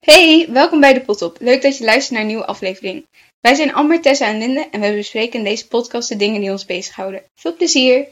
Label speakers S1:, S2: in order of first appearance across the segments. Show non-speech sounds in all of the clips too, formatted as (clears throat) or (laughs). S1: Hey, welkom bij de Potop. Leuk dat je luistert naar een nieuwe aflevering. Wij zijn Amber, Tessa en Linde en we bespreken in deze podcast de dingen die ons bezighouden. Veel plezier!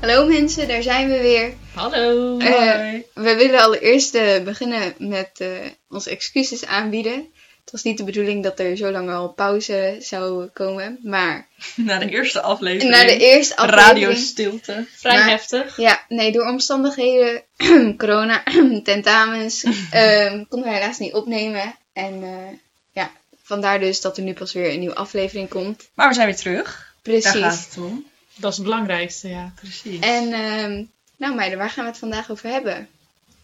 S1: Hallo mensen, daar zijn we weer.
S2: Hallo.
S1: Eh, we willen allereerst eh, beginnen met eh, onze excuses aanbieden. Het was niet de bedoeling dat er zo lang al pauze zou komen, maar
S2: (laughs) Na de eerste aflevering.
S1: na de eerste aflevering...
S2: Radio stilte.
S3: Vrij
S1: Maar-
S3: heftig.
S1: Ja, nee, door omstandigheden, (clears throat) corona,
S3: (laughs)
S1: tentamens, ehm, konden wij helaas niet opnemen. En eh, ja, vandaar dus dat er nu pas weer een nieuwe aflevering komt.
S2: Maar we zijn weer terug. Daar gaat
S1: Precies.
S2: het om.
S3: Dat is het belangrijkste, ja.
S2: Precies.
S1: En ehm, nou meiden, waar gaan we het vandaag over hebben?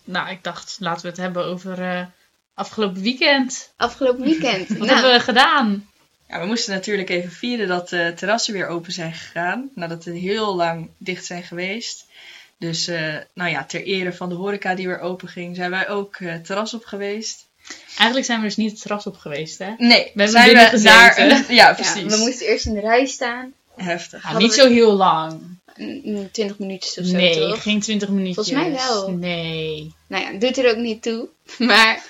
S3: Nou, ik dacht, laten we het hebben over eh, afgelopen weekend. (laughs)
S1: Afgelopen weekend.
S3: Wat
S1: nou,
S3: hebben we gedaan?
S2: Ja, we moesten natuurlijk even vieren dat de terrassen weer open zijn gegaan. Nadat ze heel lang dicht zijn geweest. Dus eh, nou ja, ter ere van de horeca die weer open ging, zijn wij ook eh, terras op geweest.
S3: Eigenlijk zijn we dus niet het terras op geweest, hè?
S2: Nee,
S3: hebben
S2: zijn
S3: binnen
S2: we naar
S3: gezeten.
S2: een- (laughs) Ja,
S1: ja,
S2: precies.
S1: we moesten eerst in de rij staan.
S2: Heftig.
S3: Nou,
S1: Hadden
S3: niet
S1: we-
S3: zo heel lang.
S1: Twintig minuutjes of zo,
S3: Nee,
S1: toch?
S3: geen 20 minuutjes.
S1: Volgens mij wel.
S3: Nee.
S1: Nou ja, doet er ook niet toe. (laughs) Maar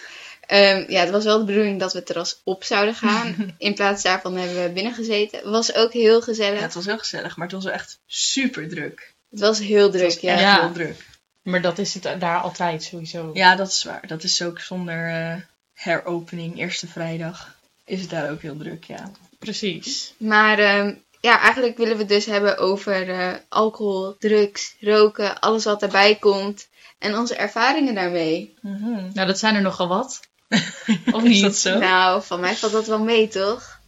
S1: ehm, ja, het was wel de bedoeling dat we het terras op zouden
S2: (laughs)
S1: gaan. In plaats daarvan hebben we binnen gezeten. Was ook heel
S2: Ja,
S1: gezellig.
S2: het was heel gezellig, maar het was wel echt super druk.
S1: Het was heel
S2: Het
S1: druk,
S2: was
S1: ja.
S2: echt
S3: Ja.
S2: heel druk.
S3: Maar dat is het daar altijd sowieso.
S2: Ja, dat is waar. Dat is ook zonder eh, heropening, eerste vrijdag, is het daar ook heel druk, ja.
S3: Precies.
S1: Maar ehm, ja, eigenlijk willen we het dus hebben over eh, alcohol, drugs, roken, alles wat daarbij komt. En onze ervaringen daarmee.
S2: Mhm.
S3: Nou, dat zijn er nogal
S1: (laughs)
S3: wat. Of
S2: Is
S3: niet?
S2: dat zo?
S1: Nou, van mij valt dat wel mee, toch?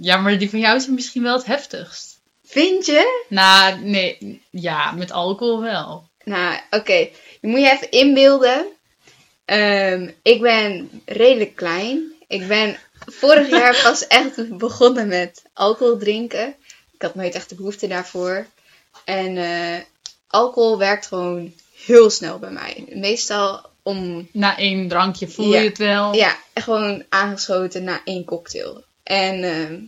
S3: Ja, maar die van jou zijn misschien wel het heftigst.
S1: Vind je?
S3: Nou, nee. Ja, met alcohol wel.
S1: Nou, oké. Je moet je even inbeelden. Ehm, ik ben redelijk klein. Ik ben vorig jaar pas echt begonnen met alcohol drinken. Ik had nooit echt de behoefte daarvoor. En eh, alcohol werkt gewoon heel snel bij mij. Meestal om
S3: Na één drankje voel
S1: Ja.
S3: je het wel.
S1: Ja, gewoon aangeschoten na één cocktail. En ehm,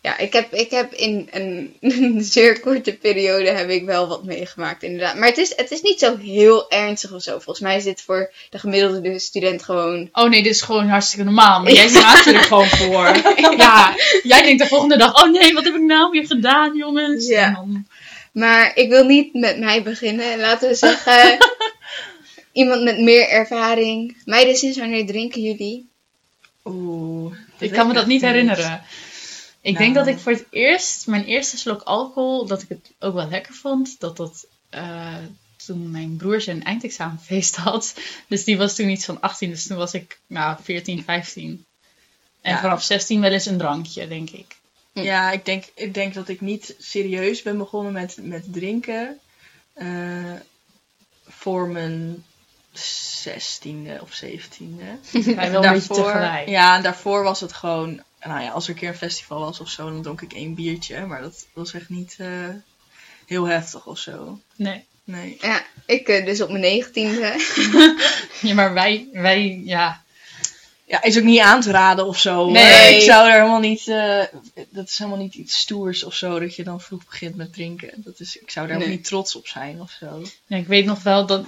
S1: ja, ik heb, ik heb in een, (laughs) zeer korte periode heb ik wel wat meegemaakt, inderdaad. Maar het is, het is niet zo heel ernstig of zo. Volgens mij is dit voor de gemiddelde student gewoon.
S3: Oh nee, dit is gewoon hartstikke normaal. Maar
S2: (laughs)
S3: jij maakt er gewoon voor. Ja, jij denkt de volgende dag: oh nee, wat heb ik nou weer gedaan, jongens?
S1: Ja.
S3: En dan-
S1: Maar ik wil niet met mij beginnen. Laten we
S2: (laughs)
S1: zeggen, iemand met meer ervaring. Meiden, sinds wanneer drinken jullie?
S2: Oeh.
S3: ik kan me dat niet herinneren. Ik denk
S2: Nou.
S3: dat ik voor het eerst, mijn eerste slok alcohol, dat ik het ook wel lekker vond. Dat dat eh, toen mijn broer zijn eindexamenfeest had. Dus die was toen iets van 18, dus toen was ik nou 14, 15. En
S2: Ja.
S3: vanaf 16 wel eens een drankje, denk
S2: (laughs)
S3: ik.
S2: Ja, ik denk, ik denk dat ik niet serieus ben begonnen met, met drinken eh, voor mijn zestiende of zeventiende.
S3: Wij wel een beetje tegelijk.
S2: Ja, en daarvoor was het gewoon... Nou ja, als er een keer een festival was of zo, dan dronk ik één biertje. Maar dat was echt niet eh, heel heftig of zo.
S3: Nee.
S2: Nee.
S1: Ja, ik eh, dus op mijn negentiende. (laughs)
S3: Ja, maar wij, wij, ja,
S2: Ja, is ook niet aan te raden of zo. hoor.
S3: Nee.
S2: Ik zou er helemaal niet... eh, dat is helemaal niet iets stoers of zo, dat je dan vroeg begint met drinken. Dat is, ik zou daar ook
S1: Nee.
S2: niet trots op zijn of zo.
S3: Ja, ik weet nog wel dat,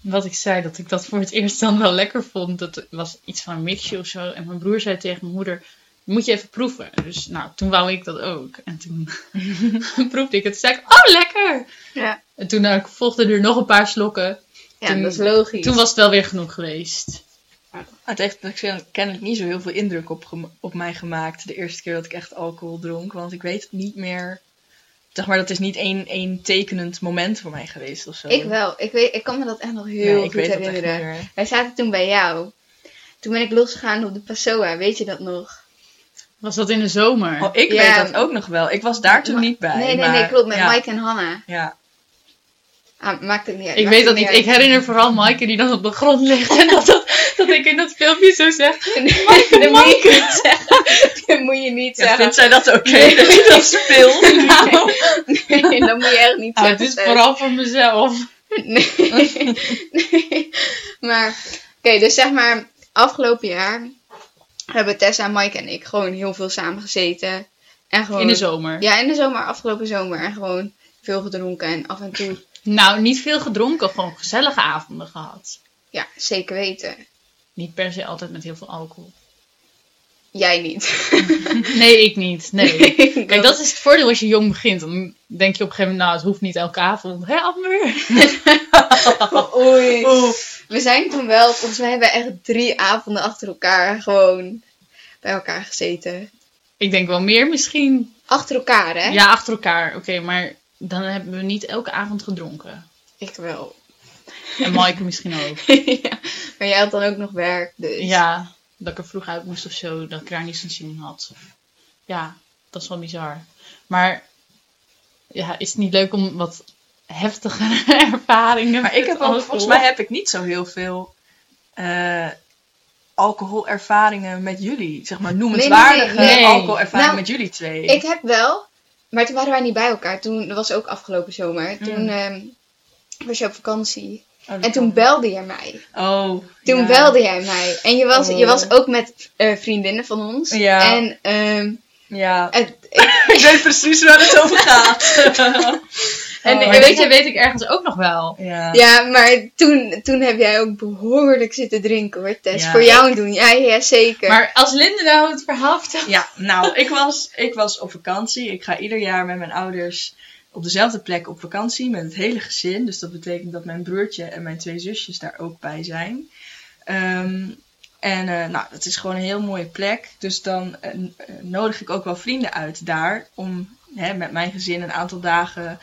S3: wat ik zei, dat ik dat voor het eerst dan wel lekker vond. Dat was iets van een mixje of zo. En mijn broer zei tegen mijn moeder, moet je even proeven. Dus nou, toen wou ik dat ook. En toen (laughs) proefde ik het. Toen zei ik, oh lekker!
S1: Ja,
S3: En toen eh, volgden er nog een paar slokken.
S1: ja
S3: Toen-
S1: dat is logisch.
S3: Toen was het wel weer genoeg geweest.
S2: Het heeft natuurlijk kennelijk niet zo heel veel indruk op, gem- op mij gemaakt de eerste keer dat ik echt alcohol dronk. Want ik weet het niet meer... Zeg maar, dat is niet één, één tekenend moment voor mij geweest of zo.
S1: Ik wel. Ik, weet, ik kan me dat echt nog
S2: Nee,
S1: heel
S2: ik
S1: goed
S2: weet dat echt
S1: herinneren.
S2: niet meer.
S1: Wij zaten toen bij jou. Toen ben ik losgegaan op de Passoa, weet je dat nog?
S3: Was dat in de zomer?
S2: Oh, ik
S1: Ja.
S2: weet dat ook nog wel. Ik was daar toen niet bij.
S1: nee, nee,
S2: maar,
S1: nee, klopt. Met
S2: ja,
S1: Mike en Hanna.
S2: Ja,
S1: Ah, maakt het niet uit.
S3: ik
S1: maakt
S3: weet dat
S1: het
S3: niet. Ik herinner vooral Maaike die dan op de grond ligt. En dat, dat, dat ik in dat filmpje zo
S1: Oh,
S3: zeg,
S1: uit. (laughs) dat moet je niet zeggen. Dat moet je niet
S2: Ja,
S1: zeggen.
S2: vindt zij dat ook?
S1: Nee.
S2: (laughs) Dat je dat speelt?
S1: (laughs)
S3: nou,
S1: Nee, (laughs) dat moet je echt niet
S3: ah,
S1: zeggen.
S3: het is
S1: Stef. (laughs)
S3: vooral voor mezelf.
S1: Nee. nee. Maar, oké, dus zeg maar, afgelopen jaar hebben Tessa, Mike en ik gewoon heel veel samen gezeten. En gewoon,
S3: In de zomer.
S1: Ja, in de zomer, afgelopen zomer. En gewoon veel gedronken en af en toe.
S3: Nou, niet veel gedronken, gewoon gezellige avonden gehad.
S1: Ja, zeker weten.
S3: Niet per se altijd met heel veel alcohol.
S1: Jij niet.
S3: (laughs)
S1: (laughs)
S3: Nee, ik niet. (laughs) Nee. Kijk,
S1: Dat-
S3: dat is het voordeel als je jong begint. Dan denk je op een gegeven moment, nou, het hoeft niet elke avond. Hè, Amber?
S1: Oh, Oei.
S2: Oeh.
S1: We zijn toen wel, volgens mij hebben we echt drie avonden achter elkaar gewoon bij elkaar gezeten.
S3: Ik denk wel meer misschien.
S1: Achter elkaar, hè?
S3: Ja, achter elkaar. Oké, maar dan hebben we niet elke avond gedronken.
S1: Ik wel.
S3: En Maaike misschien (laughs) ook.
S1: ja. Maar jij had dan ook nog werk, dus.
S3: Ja, dat ik er vroeg uit moest of zo. Dat ik daar niet zo'n zin in had. Ja, dat is wel bizar. Maar ja, is het niet leuk om wat heftigere (laughs) ervaringen
S2: Maar ik heb ook, volgens mij heb ik niet zo heel veel eh, alcoholervaringen met jullie. Zeg maar noemenswaardige
S1: nee,
S3: nee.
S2: alcoholervaring
S1: Nou,
S2: met jullie twee.
S1: Ik heb wel, maar toen waren wij niet bij elkaar. Toen, dat was ook afgelopen zomer. Toen ehm, was je op vakantie.
S2: Oh, dat
S1: En toen
S2: kan.
S1: belde jij mij.
S2: Oh,
S1: Toen
S2: ja.
S1: belde jij mij. En je was, je
S2: Oh.
S1: was ook met eh, vriendinnen van ons.
S2: Ja.
S1: En ehm, (laughs)
S2: Ja,
S1: het,
S2: ik weet precies waar het over gaat. (laughs)
S1: En-
S2: Oh.
S1: en
S3: weet je, weet ik ergens ook nog wel.
S2: ja.
S1: Ja, maar toen, toen heb jij ook behoorlijk zitten drinken hoor, Tess.
S2: Ja.
S1: Voor jou doen. Ja, ja, zeker.
S3: Maar als Linde nou het verhaal vertelt...
S2: Ja, nou, ik was, ik was op vakantie. Ik ga ieder jaar met mijn ouders op dezelfde plek op vakantie met het hele gezin. Dus dat betekent dat mijn broertje en mijn twee zusjes daar ook bij zijn. Ehm, en eh, nou, dat is gewoon een heel mooie plek. Dus dan eh, n- eh, nodig ik ook wel vrienden uit daar om hè, met mijn gezin een aantal dagen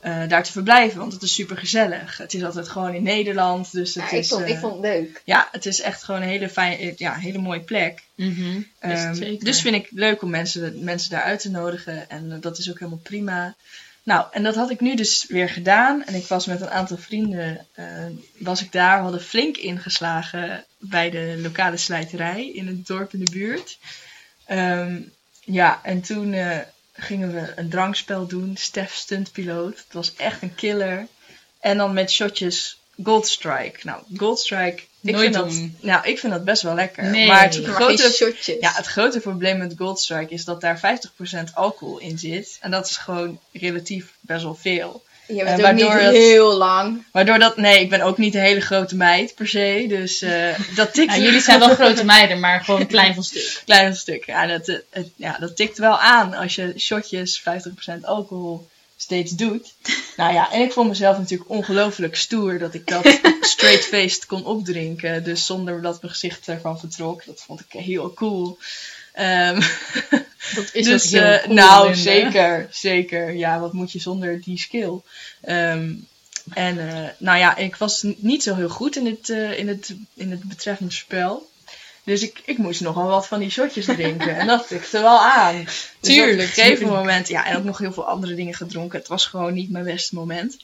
S2: eh, daar te verblijven. Want het is super gezellig. Het is altijd gewoon in Nederland. Dus het
S1: Ja, ik,
S2: is,
S1: vond, ik
S2: eh,
S1: vond het leuk.
S2: ja, het is echt gewoon een hele, fijn, eh, ja, hele mooie plek.
S3: Is het
S2: Ehm,
S3: zeker.
S2: dus vind ik leuk om mensen, mensen daaruit te nodigen. En eh, dat is ook helemaal prima. Nou, en dat had ik nu dus weer gedaan. En ik was met een aantal vrienden, eh, was ik daar. We hadden flink ingeslagen bij de lokale slijterij in het dorp in de buurt. Ehm, ja, en toen eh, gingen we een drankspel doen. Stef stuntpiloot. Het was echt een killer. En dan met shotjes Gold Strike. Nou, Gold Strike, ik,
S3: Nooit
S2: vind dat,
S3: doen.
S2: nou, ik vind dat best wel lekker.
S3: Nee.
S2: Maar het
S3: Maar
S1: Maar
S2: grote
S1: geen shotjes.
S2: ja, het grote probleem met Goldstrike is dat daar 50% alcohol in zit. En dat is gewoon relatief best wel veel.
S1: je
S2: eh,
S1: bent ook niet
S2: waardoor het-
S1: heel lang.
S2: Waardoor dat, nee, ik ben ook niet een hele grote meid per se.
S3: (laughs)
S2: Dus eh, dat tikt
S3: Nou,
S2: (laughs)
S3: jullie zijn wel grote meiden, maar gewoon klein van stuk.
S2: klein stuk. Ja dat, eh, het- ja, dat tikt wel aan als je shotjes 50% alcohol steeds
S3: (laughs)
S2: doet. Nou ja, en ik vond mezelf natuurlijk ongelooflijk stoer dat ik
S3: (laughs)
S2: dat straight-faced kon opdrinken. Dus zonder dat mijn gezicht ervan vertrok. Dat vond ik heel cool. Ehm,
S3: Dat is
S2: dus,
S3: ook heel
S2: eh,
S3: cool,
S2: Nou,
S3: Linde.
S2: zeker, zeker. Ja, wat moet je zonder die skill? Ehm, en eh, nou ja, ik was n- niet zo heel goed in het, eh, in het, in het betreffende spel. Dus ik, ik moest nogal wat van die shotjes drinken. en dat tikte wel aan. Dus op een
S3: Tuurlijk,
S2: gegeven
S3: tuurlijk.
S2: moment, ja, en ook nog heel veel andere dingen gedronken. Het was gewoon niet mijn beste moment.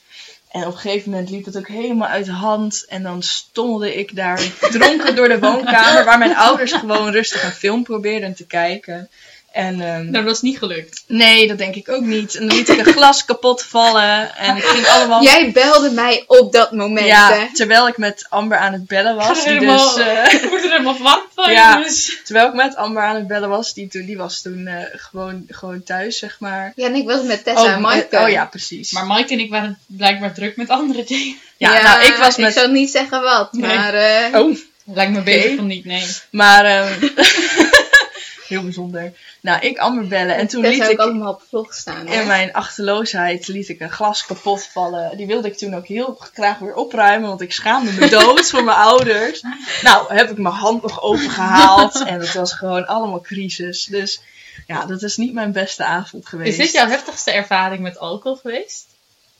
S2: En op een gegeven moment liep het ook helemaal uit de hand. En dan stommelde ik daar dronken door de woonkamer. Waar mijn ouders gewoon rustig een film probeerden te kijken. En, ehm,
S3: Nou, dat is niet gelukt.
S2: Nee, dat denk ik ook niet. En dan liet ik een glas kapot vallen. En ik ging allemaal...
S1: Jij belde mij op dat moment, hè?
S2: Ja, terwijl ik met Amber aan het bellen
S3: Ik
S2: was.
S3: ga er
S2: Die
S3: helemaal-
S2: dus, eh,
S3: (laughs) Ik word er helemaal warm van,
S2: Ja.
S3: jongens.
S2: terwijl ik met Amber aan het bellen was, die, toen, die was toen eh, gewoon, gewoon thuis, zeg maar.
S1: Ja, en ik was met Tessa en
S2: oh,
S1: Mike.
S2: eh, oh ja, precies.
S3: Maar Mike en ik waren blijkbaar druk met andere dingen.
S2: ja, nou, ik was
S1: Ik
S2: met...
S1: zou niet zeggen wat,
S3: Nee.
S1: maar... eh,
S2: Oh,
S3: Lijkt me
S2: beter
S3: beter
S2: van
S3: van niet, nee.
S2: maar... ehm, (laughs) heel bijzonder. Nou, ik Amber bellen en toen
S1: Tessa
S2: liet
S1: ook
S2: ik...
S1: allemaal op vlog staan, hoor.
S2: In mijn achterloosheid liet ik een glas kapot vallen. Die wilde ik toen ook heel graag weer opruimen, want ik schaamde me dood voor mijn ouders. Nou, heb ik mijn hand nog opengehaald en het was gewoon allemaal crisis. Dus ja, dat is niet mijn beste avond
S3: Is
S2: geweest.
S3: dit jouw heftigste ervaring met alcohol geweest?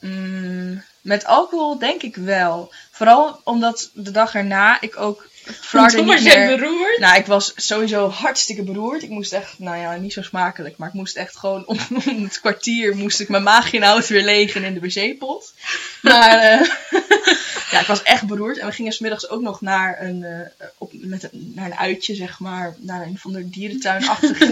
S2: Mm, met alcohol denk ik wel. Vooral omdat de dag erna ik ook Friday
S3: Toen
S2: niet
S3: was jij
S2: meer...
S3: beroerd.
S2: (laughs) Nou, ik was sowieso hartstikke beroerd. Ik moest echt, nou ja, niet zo smakelijk, maar ik moest echt gewoon om, (laughs) om het kwartier moest ik mijn maaginhoud weer legen in de wc-pot. Maar eh, (laughs) ja, ik was echt beroerd. En we gingen smiddags ook nog naar een, eh, op, met een, naar een uitje, zeg
S3: (laughs)
S2: maar, naar een van de dierentuinachtige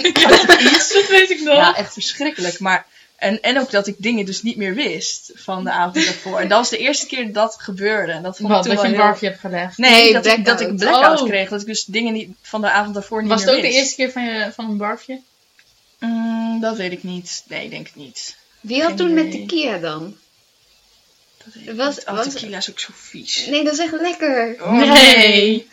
S3: Dat weet ik nog.
S2: ja, echt verschrikkelijk. Maar En, en ook dat ik dingen dus niet meer wist van de avond daarvoor. En dat was de eerste keer dat het gebeurde. En dat vond ik
S3: Wat,
S2: toen
S3: dat je
S2: wel
S3: een
S2: heel-
S3: barfje hebt gelegd.
S2: Nee,
S1: Nee,
S2: dat, ik, dat
S1: blackout.
S2: ik blackout
S3: Oh.
S2: kreeg. Dat ik dus dingen niet, van de avond daarvoor niet
S3: Was het
S2: meer
S3: ook de
S2: wist.
S3: eerste keer van, je, van een barfje?
S2: Mm, dat weet ik niet. Nee, ik denk het niet.
S1: Wie had
S2: Geen
S1: toen met
S2: idee.
S1: tequila dan?
S2: Dat weet ik
S1: Was-
S2: niet. Oh,
S1: was-
S2: tequila is ook zo vies.
S1: Nee, dat is echt lekker.
S2: Oh,
S3: (laughs) Nee,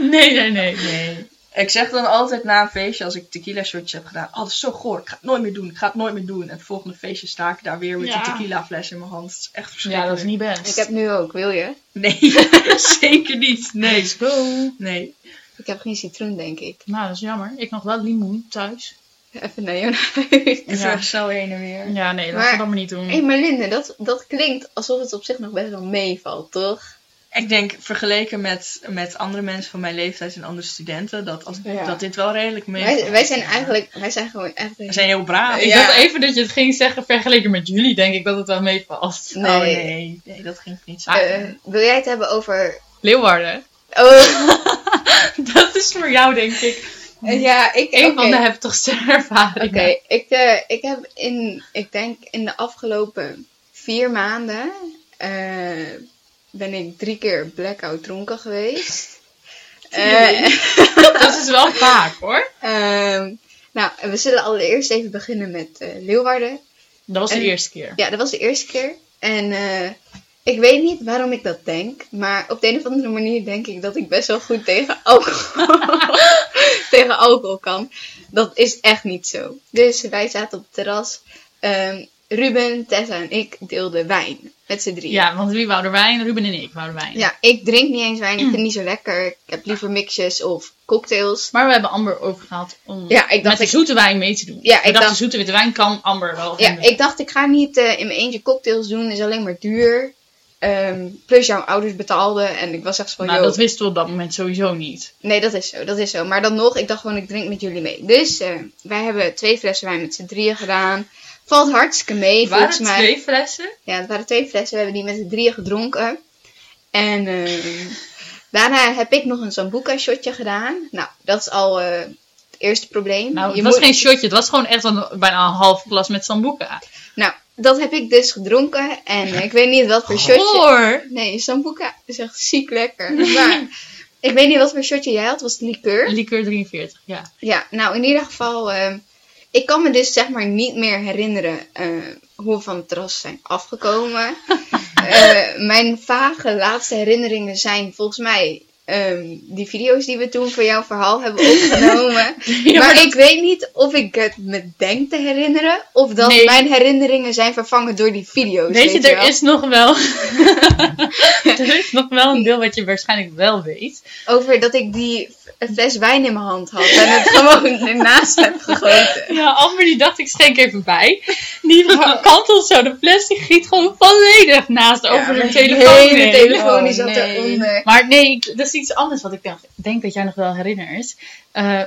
S3: nee, nee.
S2: Nee. Ik zeg dan altijd na een feestje, als ik tequila shotjes heb gedaan, oh, dat is zo goor, ik ga het nooit meer doen, ik ga het nooit meer doen. En het volgende feestje sta ik daar weer met
S3: Ja.
S2: die tequila fles in mijn hand. Het is echt
S3: Ja,
S2: verschrikkelijk.
S3: dat is niet best.
S1: Ik heb nu ook, wil je?
S2: Nee, (laughs) zeker niet. Nee.
S3: Let's go.
S2: Nee.
S1: Ik heb geen citroen, denk ik.
S3: Nou, dat is jammer. Ik nog wel limoen thuis.
S1: Even naar jou naar huis.
S2: Ik
S3: Ja.
S2: vraag zo heen en weer.
S3: Ja, nee, laten
S1: Maar-
S3: we dat maar niet doen.
S1: Hé, maar Linde, dat, dat klinkt alsof het op zich nog best wel meevalt, toch?
S2: Ik denk, vergeleken met, met andere mensen van mijn leeftijd en andere studenten, dat, als,
S1: Ja.
S2: dat dit wel redelijk mee...
S1: Wij, wij zijn eigenlijk, wij zijn gewoon echt...
S2: We zijn heel braaf.
S3: Nou, Ik
S1: Ja.
S3: dacht even dat je het ging zeggen vergeleken met jullie, denk ik dat het wel meevalt.
S1: Nee.
S2: Oh nee, nee, dat ging ik niet zeggen.
S1: Eh, wil jij het hebben over...
S3: Leeuwarden, (laughs)
S1: (laughs) Oh,
S3: dat is voor jou denk ik
S1: Eh, ja, ik...
S3: een
S1: oké.
S3: van de heftigste ervaringen.
S1: Oké, ik, eh, ik heb in, ik denk in de afgelopen vier maanden eh, ben ik drie keer blackout dronken geweest. Eh,
S3: (laughs) Dat is wel vaak hoor.
S1: ehm, nou, we zullen allereerst even beginnen met eh, Leeuwarden.
S3: Dat was de
S1: En-
S3: eerste keer.
S1: Ja, dat was de eerste keer. En eh, ik weet niet waarom ik dat denk, maar op de een of andere manier denk ik dat ik best wel goed tegen alcohol, (laughs) tegen alcohol kan. Dat is echt niet zo. Dus wij zaten op het terras. Ehm, Ruben, Tessa en ik deelden wijn met z'n drieën.
S3: Ja, want wie wou er wijn? Ruben en ik wouden wijn.
S1: Ja, ik drink niet eens wijn, ik vind het niet zo lekker. Ik heb liever mixjes of cocktails.
S3: Maar we hebben Amber overgehaald om
S1: Ja, ik
S3: met
S1: dacht,
S3: de
S1: ik,
S3: zoete wijn mee te doen.
S1: Ja,
S3: we
S1: ik
S3: dachten,
S1: dacht-
S3: zoete witte wijn kan Amber wel.
S1: ja,
S3: vinden.
S1: ik, dacht ik ga niet eh, in mijn eentje cocktails doen, is alleen maar duur. Ehm, plus jouw ouders betaalden en ik was echt zo van,
S3: Maar
S1: "Yo,
S3: Nou, dat wisten we op dat moment sowieso niet.
S1: Nee, dat is zo, dat is zo. Maar dan nog, ik dacht gewoon, ik drink met jullie mee. Dus eh, wij hebben twee flessen wijn met z'n drieën gedaan. Valt hartstikke mee, volgens mij.
S3: flessen?
S1: Ja, het waren twee flessen. We hebben die met z'n drieën gedronken. En ehm, daarna heb ik nog een Sambuca-shotje gedaan. Nou, dat is al eh, het eerste probleem.
S3: Nou, het
S1: Je
S3: was
S1: moet-
S3: geen shotje. Het was gewoon echt een, bijna een half glas met sambuca.
S1: Nou, dat heb ik dus gedronken. En eh, ik weet niet wat
S3: Oh.
S1: voor shotje...
S3: Hoor!
S1: Nee, Sambuca is echt ziek
S3: (laughs)
S1: lekker. Maar ik weet niet wat voor shotje jij had. Was het liqueur?
S3: Liqueur 43, ja.
S1: Ja, nou in ieder geval, ehm, ik kan me dus zeg maar niet meer herinneren eh, hoe we van het terras zijn
S3: (laughs)
S1: afgekomen. Eh, mijn vage laatste herinneringen zijn volgens mij ehm, die video's die we toen voor jouw verhaal hebben
S3: (laughs)
S1: opgenomen. (laughs) maar ik weet niet of ik het me denk te herinneren of dat
S3: Nee.
S1: mijn herinneringen zijn vervangen door die video's.
S3: Weet je, er
S1: wel.
S3: is
S1: (laughs)
S3: nog wel... er is nog wel een deel wat je waarschijnlijk wel weet.
S1: Over dat ik die f- fles wijn in mijn hand had en het (laughs) gewoon ernaast heb gegoten.
S3: Ja, Amber die dacht, ik schenk even bij.
S1: (laughs)
S3: Die kantelt zo. De fles die giet gewoon volledig naast over
S2: maar
S3: de
S2: die
S3: telefoon
S1: Hele
S3: heen.
S1: telefoon die
S2: Oh,
S1: zat (laughs)
S2: nee.
S1: eronder.
S3: Maar nee, ik- dat is iets anders wat ik denk, denk dat jij nog wel herinnert. Eh,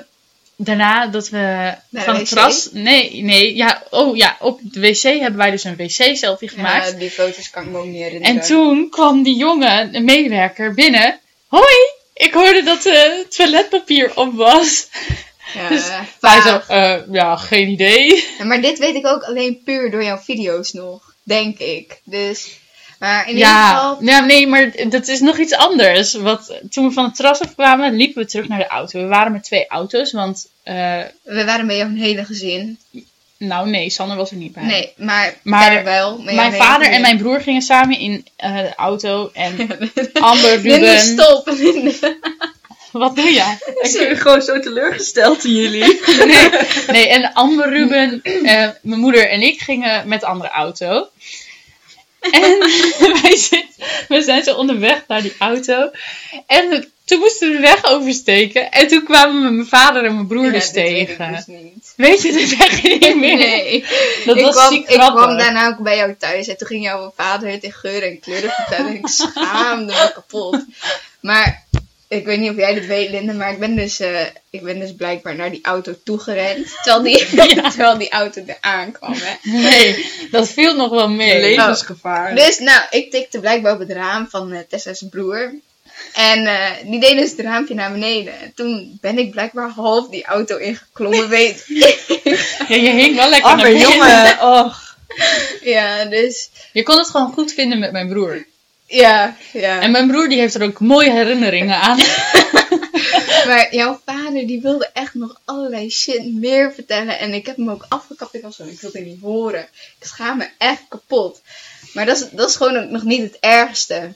S3: daarna dat we
S1: de
S3: van
S1: wc?
S3: het terras... Nee, nee, ja, oh ja, op de wc hebben wij dus een wc-selfie gemaakt.
S1: Ja, die foto's kan ik me ook niet herinneren.
S3: en toen kwam die jongen, een medewerker, binnen. Hoi, ik hoorde dat eh toiletpapier op was.
S1: Ja,
S3: dus
S1: vaag.
S3: Wij zo, eh, ja, geen idee.
S1: Ja, maar dit weet ik ook alleen puur door jouw video's nog, denk ik. Dus, maar
S3: (laughs)
S1: in ieder
S3: Ja,
S1: geval...
S3: nou, nee, maar dat is nog iets anders. Wat, toen we van het terras afkwamen, liepen we terug naar de auto. We waren met twee auto's, want... eh,
S1: We waren met jouw hele gezin.
S3: nou nee, Sanne was er niet bij.
S1: Nee, maar,
S3: Maar
S1: verder wel. met jouw
S3: Mijn
S1: hele
S3: vader
S1: gezin.
S3: en mijn broer gingen samen in eh, de auto.
S1: (laughs)
S3: En Amber,
S1: Linde,
S3: Ruben...
S1: stop! (laughs) Linde.
S3: Wat doe
S1: (laughs)
S3: jij?
S2: Ik ben gewoon zo teleurgesteld in jullie.
S3: Nee, nee en Amber, Ruben, eh, mijn moeder en ik gingen met een andere auto. En (laughs) wij zit- we zijn zo onderweg naar die auto. En toen moesten we de weg oversteken. En toen kwamen we mijn vader en mijn broer
S1: Ja,
S3: dus
S1: dit weet
S3: tegen.
S1: ik dus niet.
S3: Weet je dit echt niet meer?
S1: Nee.
S3: Dat
S1: ik,
S3: was
S1: kwam,
S3: ziek
S1: ik kwam
S3: grappig.
S1: daarna ook bij jou thuis en toen ging jouw vader het in geuren en kleuren vertellen.
S3: (laughs)
S1: en ik schaamde me kapot. Maar ik weet niet of jij dit weet, Linde, maar ik ben dus, eh, ik ben dus blijkbaar naar die auto toegerend. Terwijl (laughs) die, terwijl die auto eraan kwam. Hè.
S3: Nee, dat viel nog wel mee.
S2: Levensgevaar.
S1: Dus nou, ik tikte blijkbaar op het raam van eh, Tessa's broer. En eh, die deed dus het raampje naar beneden. En toen ben ik blijkbaar
S3: (laughs)
S1: half die auto ingeklommen. Weet,
S3: Ja, je hing wel lekker
S2: Amber,
S3: naar binnen. (laughs)
S2: jongen. Och.
S1: Ja, dus
S3: Je kon het gewoon goed vinden met mijn broer.
S1: ja, ja.
S3: En mijn broer die heeft er ook mooie herinneringen
S1: (laughs)
S3: aan.
S1: Maar jouw vader die wilde echt nog allerlei shit meer vertellen. En ik heb hem ook afgekapt. Ik was zo, ik wil dit niet horen. Ik schaam me echt kapot. Maar dat is, dat is gewoon ook nog niet het ergste.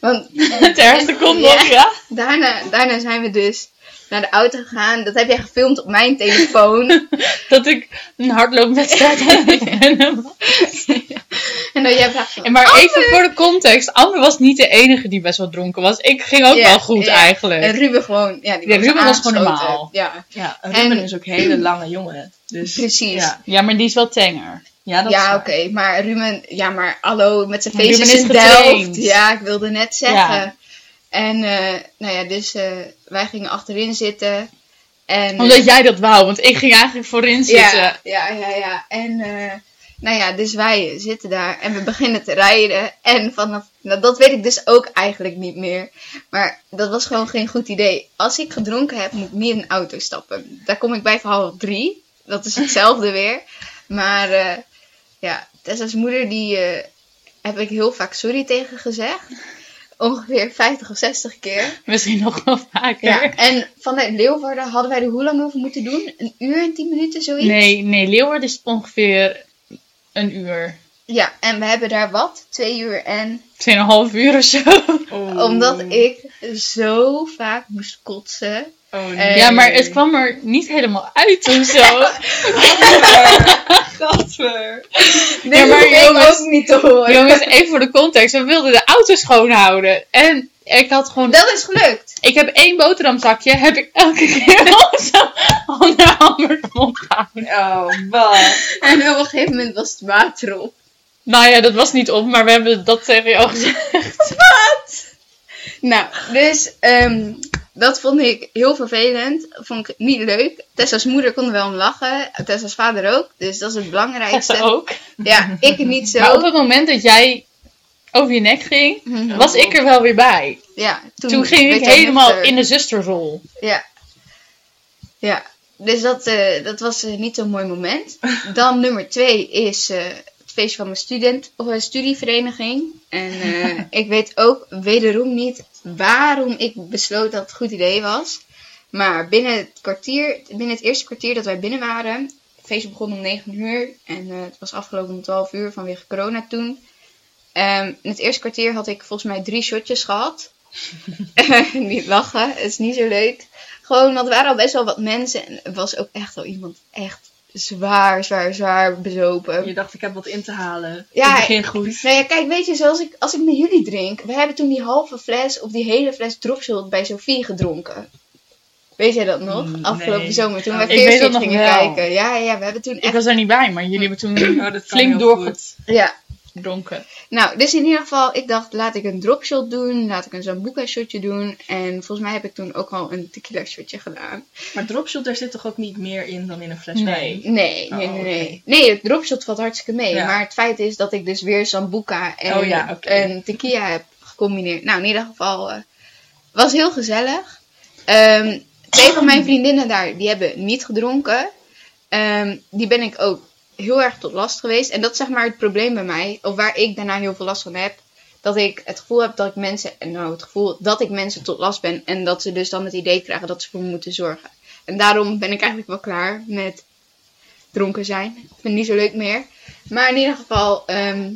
S1: Want
S3: Het ergste komt nog,
S1: Ja.
S3: ja.
S1: daarna, daarna zijn we dus naar de auto gegaan. Dat heb jij gefilmd op mijn telefoon.
S3: Dat ik een hardloopwedstrijd
S1: (laughs)
S3: heb. En-
S1: en dat jij vraagt van,
S3: En Maar even voor de context. Amber was niet de enige die best wel dronken was. Ik ging ook
S1: Ja,
S3: wel goed
S1: ja. en
S3: eigenlijk.
S1: Ruben gewoon, ja, die
S3: Ja,
S1: was
S3: Ruben was gewoon
S1: aangesloten.
S3: normaal.
S1: Ja,
S2: Ja, Ruben
S1: En-
S2: is ook een hele lange jongen. Dus,
S1: Precies.
S2: Ja,
S3: Ja, maar die is wel tenger.
S2: ja, dat is
S1: ja
S2: waar.
S1: oké. Maar Ruben, ja, maar hallo, met zijn
S3: Maar Ruben
S1: feestjes in
S3: is getraind.
S1: Delft. Ja, ik wilde net zeggen.
S3: Ja.
S1: En, eh, nou ja, dus eh, wij gingen achterin zitten. En,
S3: Omdat jij dat wou, want ik ging eigenlijk voorin zitten.
S1: Ja, ja, ja, ja. En, eh, nou ja, dus wij zitten daar en we beginnen te rijden. En vanaf, nou, dat weet ik dus ook eigenlijk niet meer. Maar dat was gewoon geen goed idee. Als ik gedronken heb, moet ik niet in een auto stappen. Daar kom ik bij voor half drie. Dat is
S3: (laughs)
S1: hetzelfde weer. Maar, eh, ja, Tessa's moeder, die eh, heb ik heel vaak sorry tegen gezegd. Ongeveer 50 of 60 keer.
S3: Misschien nog wel vaker.
S1: Ja. En vanuit Leeuwarden hadden wij er hoe lang over moeten doen? Een uur en tien minuten, zoiets?
S3: Nee, nee, Leeuwarden is ongeveer een uur.
S1: Ja, en we hebben daar wat? Twee uur en.
S3: Tweeënhalf uur of zo.
S2: Oh.
S1: Omdat ik zo vaak moest kotsen.
S2: Oh, nee.
S1: Eh,
S3: Ja, maar het kwam er niet helemaal uit of
S1: (laughs)
S3: zo. (laughs)
S1: eh,
S2: (laughs) Gadver.
S1: Nee,
S3: Ja, maar
S1: dat kreeg ik
S3: jongens-
S1: ook niet te horen.
S3: Jongens, even voor de context. We wilden de auto schoonhouden. En ik had gewoon...
S1: Dat is gelukt.
S3: Ik heb één boterhamzakje. Heb ik elke keer (laughs) al zo onder Amber's mond gehouden.
S2: Oh, wat.
S1: En op een gegeven moment was het water op.
S3: Nou ja, dat was niet op. Maar we hebben dat tegen jou gezegd.
S1: Nou, dus ehm, dat vond ik heel vervelend. Vond ik niet leuk. Tessa's moeder kon er wel om lachen. Tessa's vader ook. Dus dat is het (laughs)
S3: Ze
S1: belangrijkste.
S3: ook.
S1: Ja, ik niet zo.
S3: Maar op het moment dat jij over je nek ging,
S1: Mhm.
S3: was ik er wel weer bij.
S1: Ja, toen,
S3: Toen ging
S1: werd
S3: ik
S1: jij eh,
S3: helemaal
S1: nuchter.
S3: in de zusterrol.
S1: Ja. Ja. Dus dat, eh, dat was eh, niet zo'n mooi moment. Dan nummer twee is eh, het feest van mijn student, of, eh, studievereniging. En eh, ik weet ook wederom niet waarom ik besloot dat het een goed idee was. Maar binnen het, kwartier, binnen het eerste kwartier dat wij binnen waren... Het feest begon om 9 uur en eh, het was afgelopen om 12 uur vanwege corona toen. Ehm, in het eerste kwartier had ik volgens mij drie shotjes gehad. (laughs) niet lachen, het is niet zo leuk. Gewoon, want er waren al best wel wat mensen. En er was ook echt al iemand echt zwaar, zwaar, zwaar bezopen.
S2: Je dacht, ik heb wat in te halen.
S1: Ja,
S2: Ja. Het begin goed.
S1: Nou ja, kijk, weet je, zoals ik, als ik met jullie drink. We hebben toen die halve fles of die hele fles dropshot bij Sophie gedronken. Weet jij dat nog?
S2: Mm,
S1: Afgelopen
S2: nee.
S1: zomer toen
S2: Oh,
S1: wij
S2: ik
S3: weet
S1: Fear
S3: dat
S1: Street
S3: nog
S1: gingen
S3: wel.
S1: kijken. Ja, ja, we hebben toen
S3: Ik
S1: echt...
S3: was er niet bij, maar jullie hebben toen (clears throat)
S2: Oh, dat kan
S3: flink
S2: heel
S3: doorgezet.
S1: Ja,
S3: dronken.
S1: Nou, dus in ieder geval, ik dacht, laat ik een dropshot doen, laat ik een zambuca shotje doen. En volgens mij heb ik toen ook al een tequila shotje gedaan.
S2: Maar dropshot, daar zit toch ook niet meer in dan in een fles
S3: Nee.
S2: wijn?
S1: Nee, nee,
S2: Oh,
S1: nee,
S2: oké.
S1: nee. Nee, het dropshot valt hartstikke mee.
S2: Ja.
S1: Maar het feit is dat ik dus weer sambuca en,
S2: Oh ja, oké.
S1: en tequila heb gecombineerd. Nou, in ieder geval, eh, was heel gezellig. Ehm, twee van mijn vriendinnen daar, die hebben niet gedronken. Ehm, die ben ik ook heel erg tot last geweest. En dat is zeg maar het probleem bij mij, of waar ik daarna heel veel last van heb. Dat ik het gevoel heb dat ik mensen, en nou het gevoel dat ik mensen tot last ben. En dat ze dus dan het idee krijgen dat ze voor me moeten zorgen. En daarom ben ik eigenlijk wel klaar met dronken zijn. Ik vind het niet zo leuk meer. Maar in ieder geval, ehm,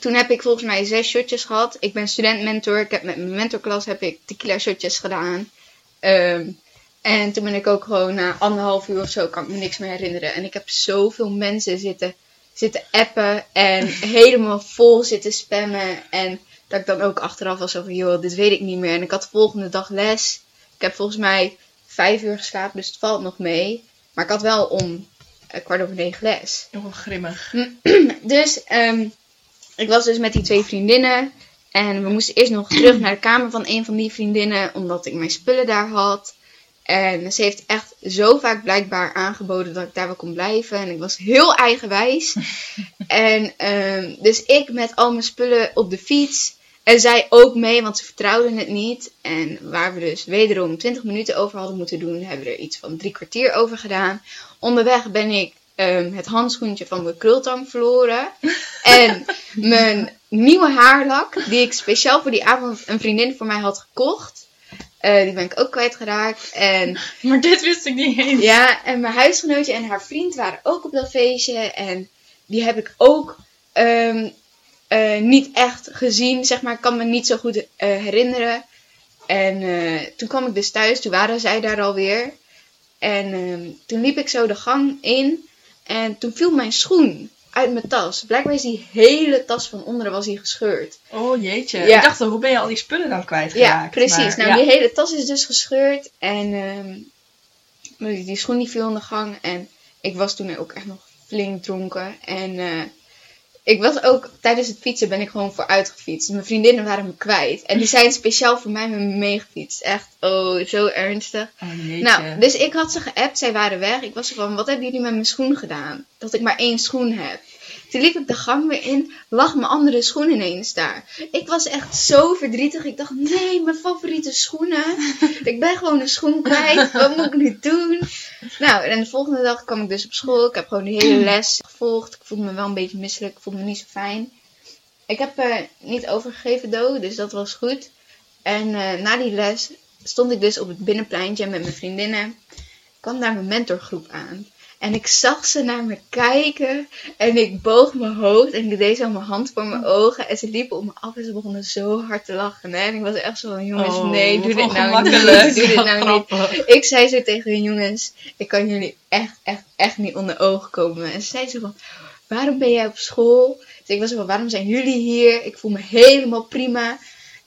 S1: toen heb ik volgens mij zes shotjes gehad. Ik ben studentmentor. Ik heb met mijn mentorklas heb ik tequila shotjes gedaan. Ehm, en toen ben ik ook gewoon na anderhalf uur of zo, kan ik me niks meer herinneren. En ik heb zoveel mensen zitten, zitten appen en helemaal vol zitten spammen. En dat ik dan ook achteraf was van, joh, dit weet ik niet meer. En ik had de volgende dag les. Ik heb volgens mij vijf uur geslapen, dus het valt nog mee. Maar ik had wel om eh, kwart over negen les.
S2: Oh, grimmig.
S1: (clears throat) Dus ehm, ik was dus met die twee vriendinnen. En we moesten eerst nog terug naar de kamer van een van die vriendinnen. Omdat ik mijn spullen daar had. En ze heeft echt zo vaak blijkbaar aangeboden dat ik daar wel kon blijven. En ik was heel eigenwijs. en ehm, dus ik met al mijn spullen op de fiets. En zij ook mee, want ze vertrouwden het niet. En waar we dus wederom 20 minuten over hadden moeten doen, hebben we er iets van drie kwartier over gedaan. Onderweg ben ik eh, ehm, het handschoentje van mijn krultang verloren. en mijn nieuwe haarlak, die ik speciaal voor die avond een vriendin voor mij had gekocht. Eh, die ben ik ook kwijtgeraakt. En
S3: Maar dit wist ik niet eens.
S1: ja, en mijn huisgenootje en haar vriend waren ook op dat feestje. En die heb ik ook ehm, eh, niet echt gezien, zeg maar. Ik kan me niet zo goed eh, herinneren. En eh, toen kwam ik dus thuis, toen waren zij daar alweer. En ehm, toen liep ik zo de gang in. En toen viel mijn schoen uit mijn tas. Blijkbaar is die hele tas van onderen was die gescheurd.
S2: Oh jeetje.
S1: Ja.
S2: Ik dacht al, hoe ben je al die spullen dan
S1: Ja,
S2: kwijtgeraakt?
S1: precies.
S2: Maar,
S1: nou,
S2: ja.
S1: die hele tas is dus gescheurd. En ehm, die die schoen die viel in de gang. En ik was toen ook echt nog flink dronken. En eh, ik was ook, tijdens het fietsen ben ik gewoon vooruit gefietst. Mijn vriendinnen waren me kwijt. En die zijn speciaal voor mij met me meegefietst. Echt, oh, zo ernstig.
S2: Oh jeetje.
S1: Nou, dus ik had ze geappt, zij waren weg. Ik was van, wat hebben jullie met mijn schoen gedaan? Dat ik maar één schoen heb. Toen liep ik de gang weer in, lag mijn andere schoen ineens daar. Ik was echt zo verdrietig. Ik dacht, nee, mijn favoriete schoenen. Ik ben gewoon een schoen kwijt. Wat moet ik nu doen? Nou, en de volgende dag kwam ik dus op school. Ik heb gewoon de hele les gevolgd. Ik voelde me wel een beetje misselijk. Ik voelde me niet zo fijn. Ik heb eh, niet overgegeven, do, dus dat was goed. En eh, na die les stond ik dus op het binnenpleintje met mijn vriendinnen. Ik kwam daar mijn mentorgroep aan. En ik zag ze naar me kijken. En ik boog mijn hoofd. En ik deed zo mijn hand voor mijn ogen. En ze liepen op me af. En ze begonnen zo hard te lachen. Hè? En ik was echt zo van, jongens,
S3: Oh,
S1: nee, doe
S2: wat
S1: dit nou
S2: ongemakkelijk.
S1: niet. Doe dit
S2: (laughs)
S1: nou niet.
S3: Grappig.
S1: (laughs) Ik zei zo tegen hun jongens, ik kan jullie echt, echt, echt niet onder ogen komen. En ze zei zo van, waarom ben jij op school? Dus ik was zo van, waarom zijn jullie hier? Ik voel me helemaal prima.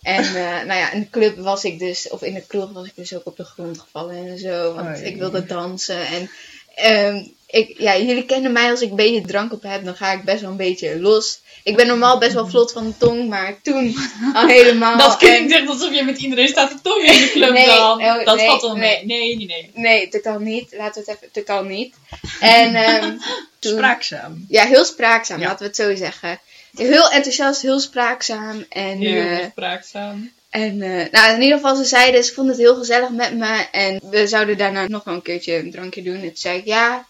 S1: En eh, (laughs) nou ja, in de club was ik dus, of in de kroeg was ik dus ook op de grond gevallen en zo. Want
S2: Oei.
S1: ik wilde dansen. En ehm, ik, ja, jullie kennen mij, als ik een beetje drank op heb, dan ga ik best wel een beetje los. Ik ben normaal best wel vlot van de tong, maar toen
S3: (laughs)
S1: al helemaal.
S3: Dat
S1: En-
S3: klinkt echt alsof je met iedereen staat te tongen in de club
S1: Oh, (laughs) Nee,
S3: dan.
S1: oh,
S3: dat
S1: nee,
S3: valt wel
S1: nee.
S3: mee. Nee, nee, nee.
S1: Nee, totaal niet. Laten we het even, totaal niet. En ehm, toen-
S2: Spraakzaam.
S1: Ja, heel spraakzaam,
S2: Ja.
S1: laten we het zo zeggen. Heel enthousiast, heel spraakzaam. En,
S3: Heel
S1: eh,
S3: spraakzaam.
S1: en eh, nou, in ieder geval, ze zeiden, ze vonden het heel gezellig met me. En we zouden daarna nog wel een keertje een drankje doen. En toen zei ik, ja,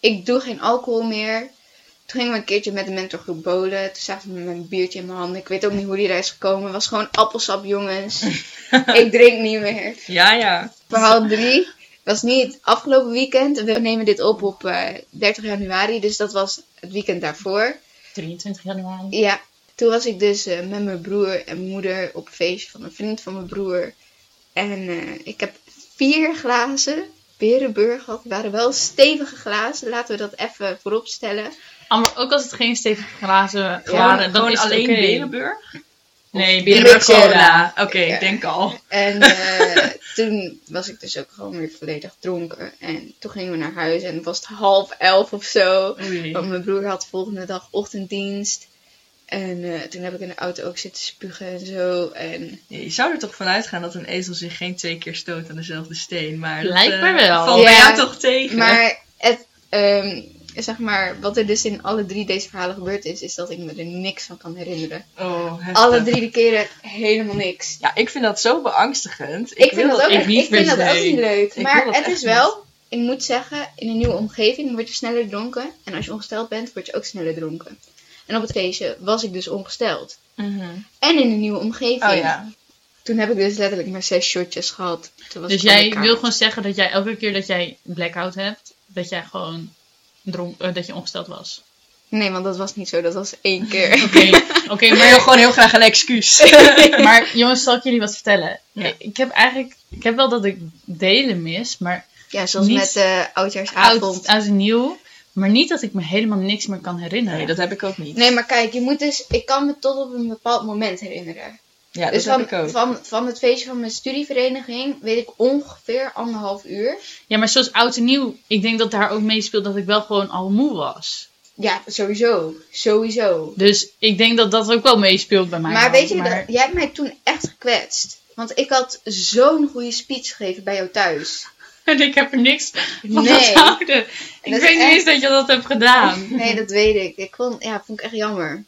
S1: ik doe geen alcohol meer. Toen gingen we een keertje met de mentorgroep bowlen. Toen zaten we met een biertje in mijn hand. Ik weet ook niet hoe die daar is gekomen. Het was gewoon appelsap, jongens. ik drink niet meer.
S2: Ja, ja.
S1: Verhaal 3 was niet afgelopen weekend. We nemen dit op op eh, 30 januari, dus dat was het weekend daarvoor.
S3: 23 januari.
S1: Ja, toen was ik dus eh, met mijn broer en mijn moeder op een feestje van een vriend van mijn broer. En eh, ik heb vier glazen Berenburg gehad. Het waren wel stevige glazen, laten we dat even voorop stellen.
S3: Ah, maar ook als het geen stevige glazen
S1: Ja,
S3: waren, dan
S2: Gewoon
S3: is
S2: alleen
S3: het oké.
S2: Berenburg?
S3: Nee,
S1: Berenburg
S3: Berenburg
S1: cola.
S3: cola.
S2: Oké,
S1: Ja.
S2: ik denk al.
S1: En eh, toen was ik dus ook gewoon weer volledig dronken. En toen gingen we naar huis en het was half elf of zo.
S2: Oei.
S3: Oh.
S1: Want mijn broer had volgende dag ochtenddienst. En eh, toen heb ik in de auto ook zitten spugen en zo. En
S2: Ja, je zou er toch vanuit gaan dat een ezel zich geen twee keer stoot aan dezelfde steen. Maar
S3: Blijkbaar
S2: dat, eh,
S3: wel.
S2: valt bij
S1: Ja,
S2: jou toch tegen.
S1: Maar het, ehm, zeg maar, wat er dus in alle drie deze verhalen gebeurd is, is dat ik me er niks van kan herinneren.
S2: Oh, heftig.
S1: Alle drie de keren helemaal niks.
S2: Ja, ik vind dat zo beangstigend.
S1: Ik, vind
S2: wil
S1: dat ook
S3: ik
S1: echt,
S3: niet
S1: ik vind
S3: meer
S1: dat ook
S3: zijn.
S1: niet leuk.
S2: Ik
S1: maar
S2: wil dat
S1: het
S2: echt
S1: is wel, ik moet zeggen, in een nieuwe omgeving word je sneller dronken. En als je ongesteld bent, word je ook sneller dronken. En op het feestje was ik dus ongesteld.
S2: Mhm.
S1: En in een nieuwe omgeving.
S2: Oh ja.
S1: Toen heb ik dus letterlijk maar zes shotjes gehad. Toen was
S3: Dus
S1: ik aan de
S3: jij
S1: kaart.
S3: wil gewoon zeggen dat jij elke keer dat jij een blackout hebt, dat jij gewoon dronk, eh, dat je ongesteld was.
S1: Nee, want dat was niet zo. Dat was één keer.
S3: (laughs) Oké,
S1: (laughs)
S3: oké,
S2: Ik
S3: maar
S2: wil gewoon heel graag een excuus.
S3: Maar jongens, zal ik jullie wat vertellen?
S2: Ja.
S3: Ik, ik heb eigenlijk, ik heb wel dat ik delen mis, maar
S1: Ja, zoals
S3: Niet
S1: met eh
S3: oud,
S1: oudjaarsavond.
S3: oud en nieuw. Maar niet dat ik me helemaal niks meer kan herinneren.
S2: Nee, dat heb ik ook niet.
S1: Nee, maar kijk, je moet dus... Ik kan me tot op een bepaald moment herinneren.
S2: Ja, dat
S1: dus
S2: heb
S1: van,
S2: ik ook.
S1: Van, van het feestje van mijn studievereniging weet ik ongeveer anderhalf uur.
S3: Ja, maar zoals oud en nieuw, ik denk dat daar ook meespeelt dat ik wel gewoon al moe was.
S1: Ja, sowieso. Sowieso.
S3: Dus ik denk dat dat ook wel meespeelt bij mij.
S1: Maar
S3: dan,
S1: weet je,
S3: maar-
S1: dat, jij hebt mij toen echt gekwetst. Want ik had zo'n goede speech gegeven bij jou thuis.
S3: (laughs) En ik heb er niks van
S1: Nee.
S3: onthouden. Ik
S1: is
S3: weet niet
S1: echt-
S3: eens dat je dat hebt gedaan.
S1: Nee, dat weet ik. Ik vond, ja, vond ik echt jammer.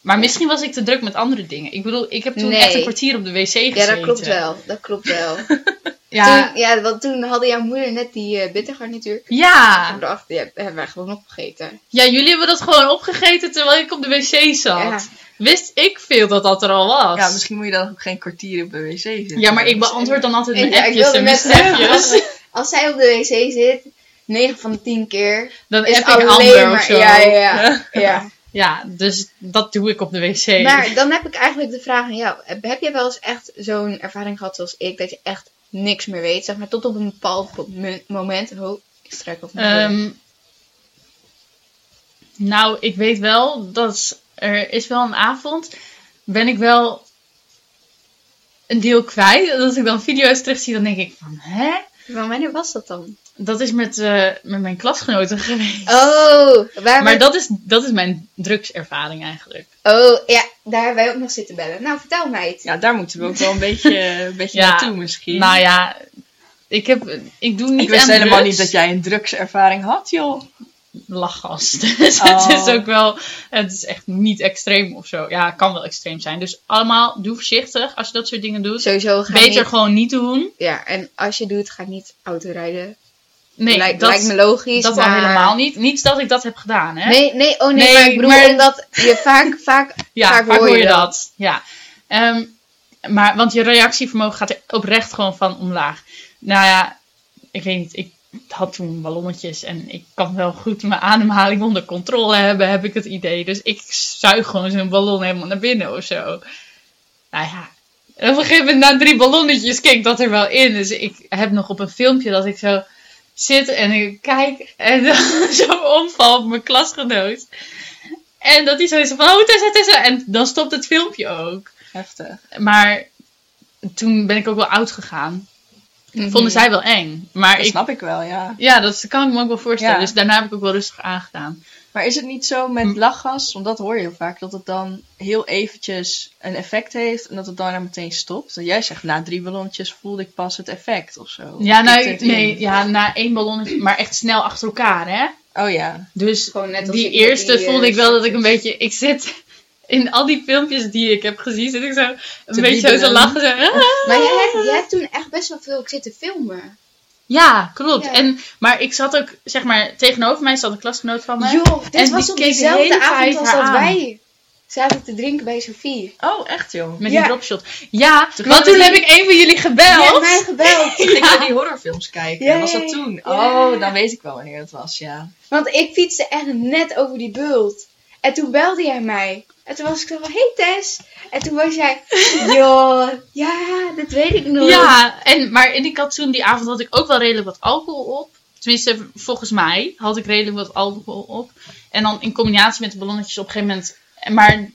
S3: Maar misschien was ik te druk met andere dingen. Ik bedoel, ik heb toen
S1: Nee.
S3: echt een kwartier op de wc gezeten.
S1: Ja, dat klopt wel. Dat klopt wel.
S3: Ja,
S1: Toen, ja, want toen hadden jouw moeder net die eh, bittergarnituur.
S3: ja.
S1: Toen dacht ik, ja, hebben wij gewoon opgegeten.
S3: ja, jullie hebben dat gewoon opgegeten terwijl ik op de wc zat.
S1: Ja.
S3: Wist ik veel dat dat er al was.
S2: Ja, misschien moet je dan ook geen kwartier op de wc zitten.
S3: Ja, maar ik beantwoord dan altijd mijn
S1: Ja, ik
S3: appjes
S1: wilde
S3: en mijn
S1: net zeggen.
S3: snapjes.
S1: (laughs) Als zij op de wc zit, 9 van de 10 keer.
S3: (laughs) Dan
S1: Is
S3: app ik
S1: alleen
S3: Amber of
S1: maar.
S3: zo.
S1: Ja, ja, ja. ja.
S3: (laughs) Ja, dus dat doe ik op de wc.
S1: Maar dan heb ik eigenlijk de vraag aan jou. Heb heb jij wel eens echt zo'n ervaring gehad zoals ik, dat je echt niks meer weet? Zeg maar tot op een bepaald mo- moment. Oh, ik struik op mijn woorden.
S3: Ehm, nou, ik weet wel dat er is wel een avond. Ben ik wel een deel kwijt. Dat ik dan video's terugzie, dan denk ik van, hè?
S1: Maar wanneer was dat
S3: (laughs)
S1: dan?
S3: Dat is met, eh, met mijn klasgenoten geweest.
S1: Oh, waar
S3: Maar dat is, dat is mijn drugservaring eigenlijk.
S1: Oh, ja, daar hebben wij ook nog zitten bellen. Nou, vertel meid.
S2: Ja, daar moeten we ook wel een beetje, een beetje
S3: Ja,
S2: naartoe misschien.
S3: Nou ja, ik, heb, ik doe niet
S2: ik wist
S3: aan
S2: helemaal
S3: drugs.
S2: niet dat jij een drugservaring had, joh.
S3: lachgas. (laughs) Dus
S2: Oh.
S3: het is ook wel, het is echt niet extreem of zo. Ja, het kan wel extreem zijn. Dus allemaal, doe voorzichtig als je dat soort dingen doet.
S1: Sowieso ga
S3: Beter
S1: niet...
S3: gewoon niet doen.
S1: Ja, en als je doet, ga niet autorijden.
S3: Nee,
S1: lijkt,
S3: dat,
S1: lijkt me logisch,
S3: dat
S1: maar...
S3: al helemaal niet. Niet dat ik dat heb gedaan, hè?
S1: Nee, nee, oh nee,
S3: Nee,
S1: maar ik bedoel,
S3: maar-
S1: omdat
S3: (laughs)
S1: je vaak, vaak,
S3: ja, vaak, hoor je dat. Ja. Ehm, maar, want je reactievermogen gaat er oprecht gewoon van omlaag. Nou ja, ik weet niet. Ik had toen ballonnetjes en ik kan wel goed mijn ademhaling onder controle hebben, heb ik het idee. Dus ik zuig gewoon zo'n ballon helemaal naar binnen of zo. Nou ja. En op een gegeven moment, na drie ballonnetjes, keek dat er wel in. Dus ik heb nog op een filmpje dat ik zo zit en ik kijk en (laughs) dan zo omval op mijn klasgenoot. En dat hij zo is van, oh Tessa, Tessa. En dan stopt het filmpje ook.
S2: Heftig.
S3: Maar toen ben ik ook wel oud gegaan.
S1: Mhm.
S3: Vonden zij wel eng. Maar
S2: Dat
S3: ik,
S2: snap ik wel, ja.
S3: ja, dat kan ik me ook wel voorstellen.
S2: Ja.
S3: Dus daarna heb ik ook wel rustig aangedaan.
S2: Maar is het niet zo met lachgas, want dat hoor je heel vaak, dat het dan heel eventjes een effect heeft en dat het daarna meteen stopt? En jij zegt, na drie ballonnetjes voelde ik pas het effect of zo.
S3: Ja,
S2: Kikte
S3: nou,
S2: het in.
S3: nee, ja, na één ballonnetje, maar echt snel achter elkaar, hè.
S2: Oh ja.
S3: Dus
S1: Gewoon net als
S3: die
S1: ik met
S3: eerste
S1: die, eh,
S3: voelde ik wel dat ik een
S1: shortjes.
S3: beetje... Ik zit in al die filmpjes die ik heb gezien, zit ik zo een
S2: Te
S3: beetje zo te
S2: biederen.
S3: lachen. Zo, "Ah."
S1: Maar jij hebt, jij hebt toen echt best wel veel zitten filmen.
S3: Ja, klopt.
S1: Ja.
S3: En, maar ik zat ook, zeg maar, tegenover mij zat een klasgenoot van mij.
S1: Joh, dit
S3: En
S1: was
S3: die
S1: op
S3: keek de
S1: dezelfde
S3: hele tijd
S1: avond als
S3: haar
S1: dat
S3: aan.
S1: wij zaten te drinken bij Sophie.
S2: Oh, echt joh. (laughs)
S3: Met
S1: Ja.
S3: die dropshot. Ja,
S2: Toen
S3: want
S2: gingen
S3: toen
S2: we
S3: heb ik een van jullie gebeld.
S1: Je hebt mij
S3: (laughs)
S1: gebeld.
S2: Toen gingen we die horrorfilms kijken.
S1: Ja,
S2: was
S1: ja,
S2: dat
S1: ja.
S2: toen?
S1: Ja.
S2: Oh, dan weet ik wel wanneer het was, ja.
S1: Want ik fietste echt net over die bult. En toen belde jij mij. En toen was ik zo van, hey Tess. En toen was
S2: (laughs)
S1: jij, joh, ja, dat weet ik nog.
S3: Ja, en, maar en ik had toen die avond had ik ook wel redelijk wat alcohol op. Tenminste, volgens mij had ik redelijk wat alcohol op. En dan in combinatie met de ballonnetjes op een gegeven moment. Maar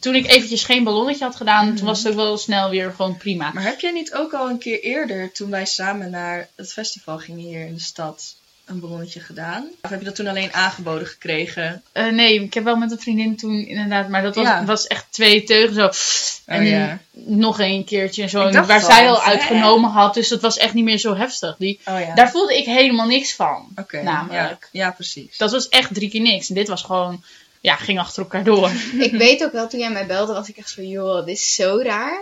S3: toen ik eventjes geen ballonnetje had gedaan, toen was het ook wel snel weer gewoon prima.
S2: Maar heb jij niet ook al een keer eerder, toen wij samen naar het festival gingen hier in de stad, een ballonnetje gedaan? Of heb je dat toen alleen aangeboden gekregen?
S3: Eh, nee, ik heb wel met een vriendin toen inderdaad, maar dat was,
S2: Ja.
S3: was echt twee teugen zo. en
S2: Oh, ja.
S3: nog een keertje en zo,
S2: Ik dacht
S3: waar
S2: al,
S3: zij al
S2: hè?
S3: uitgenomen had. Dus dat was echt niet meer zo heftig. Die,
S2: Oh ja.
S3: Daar voelde ik helemaal niks van.
S2: Oké, ja.
S3: Namelijk.
S2: ja, precies.
S3: Dat was echt drie keer niks. En dit was gewoon, ja, ging achter elkaar door. (laughs)
S1: Ik weet ook wel, toen jij mij belde, was ik echt zo, joh, dit is zo raar.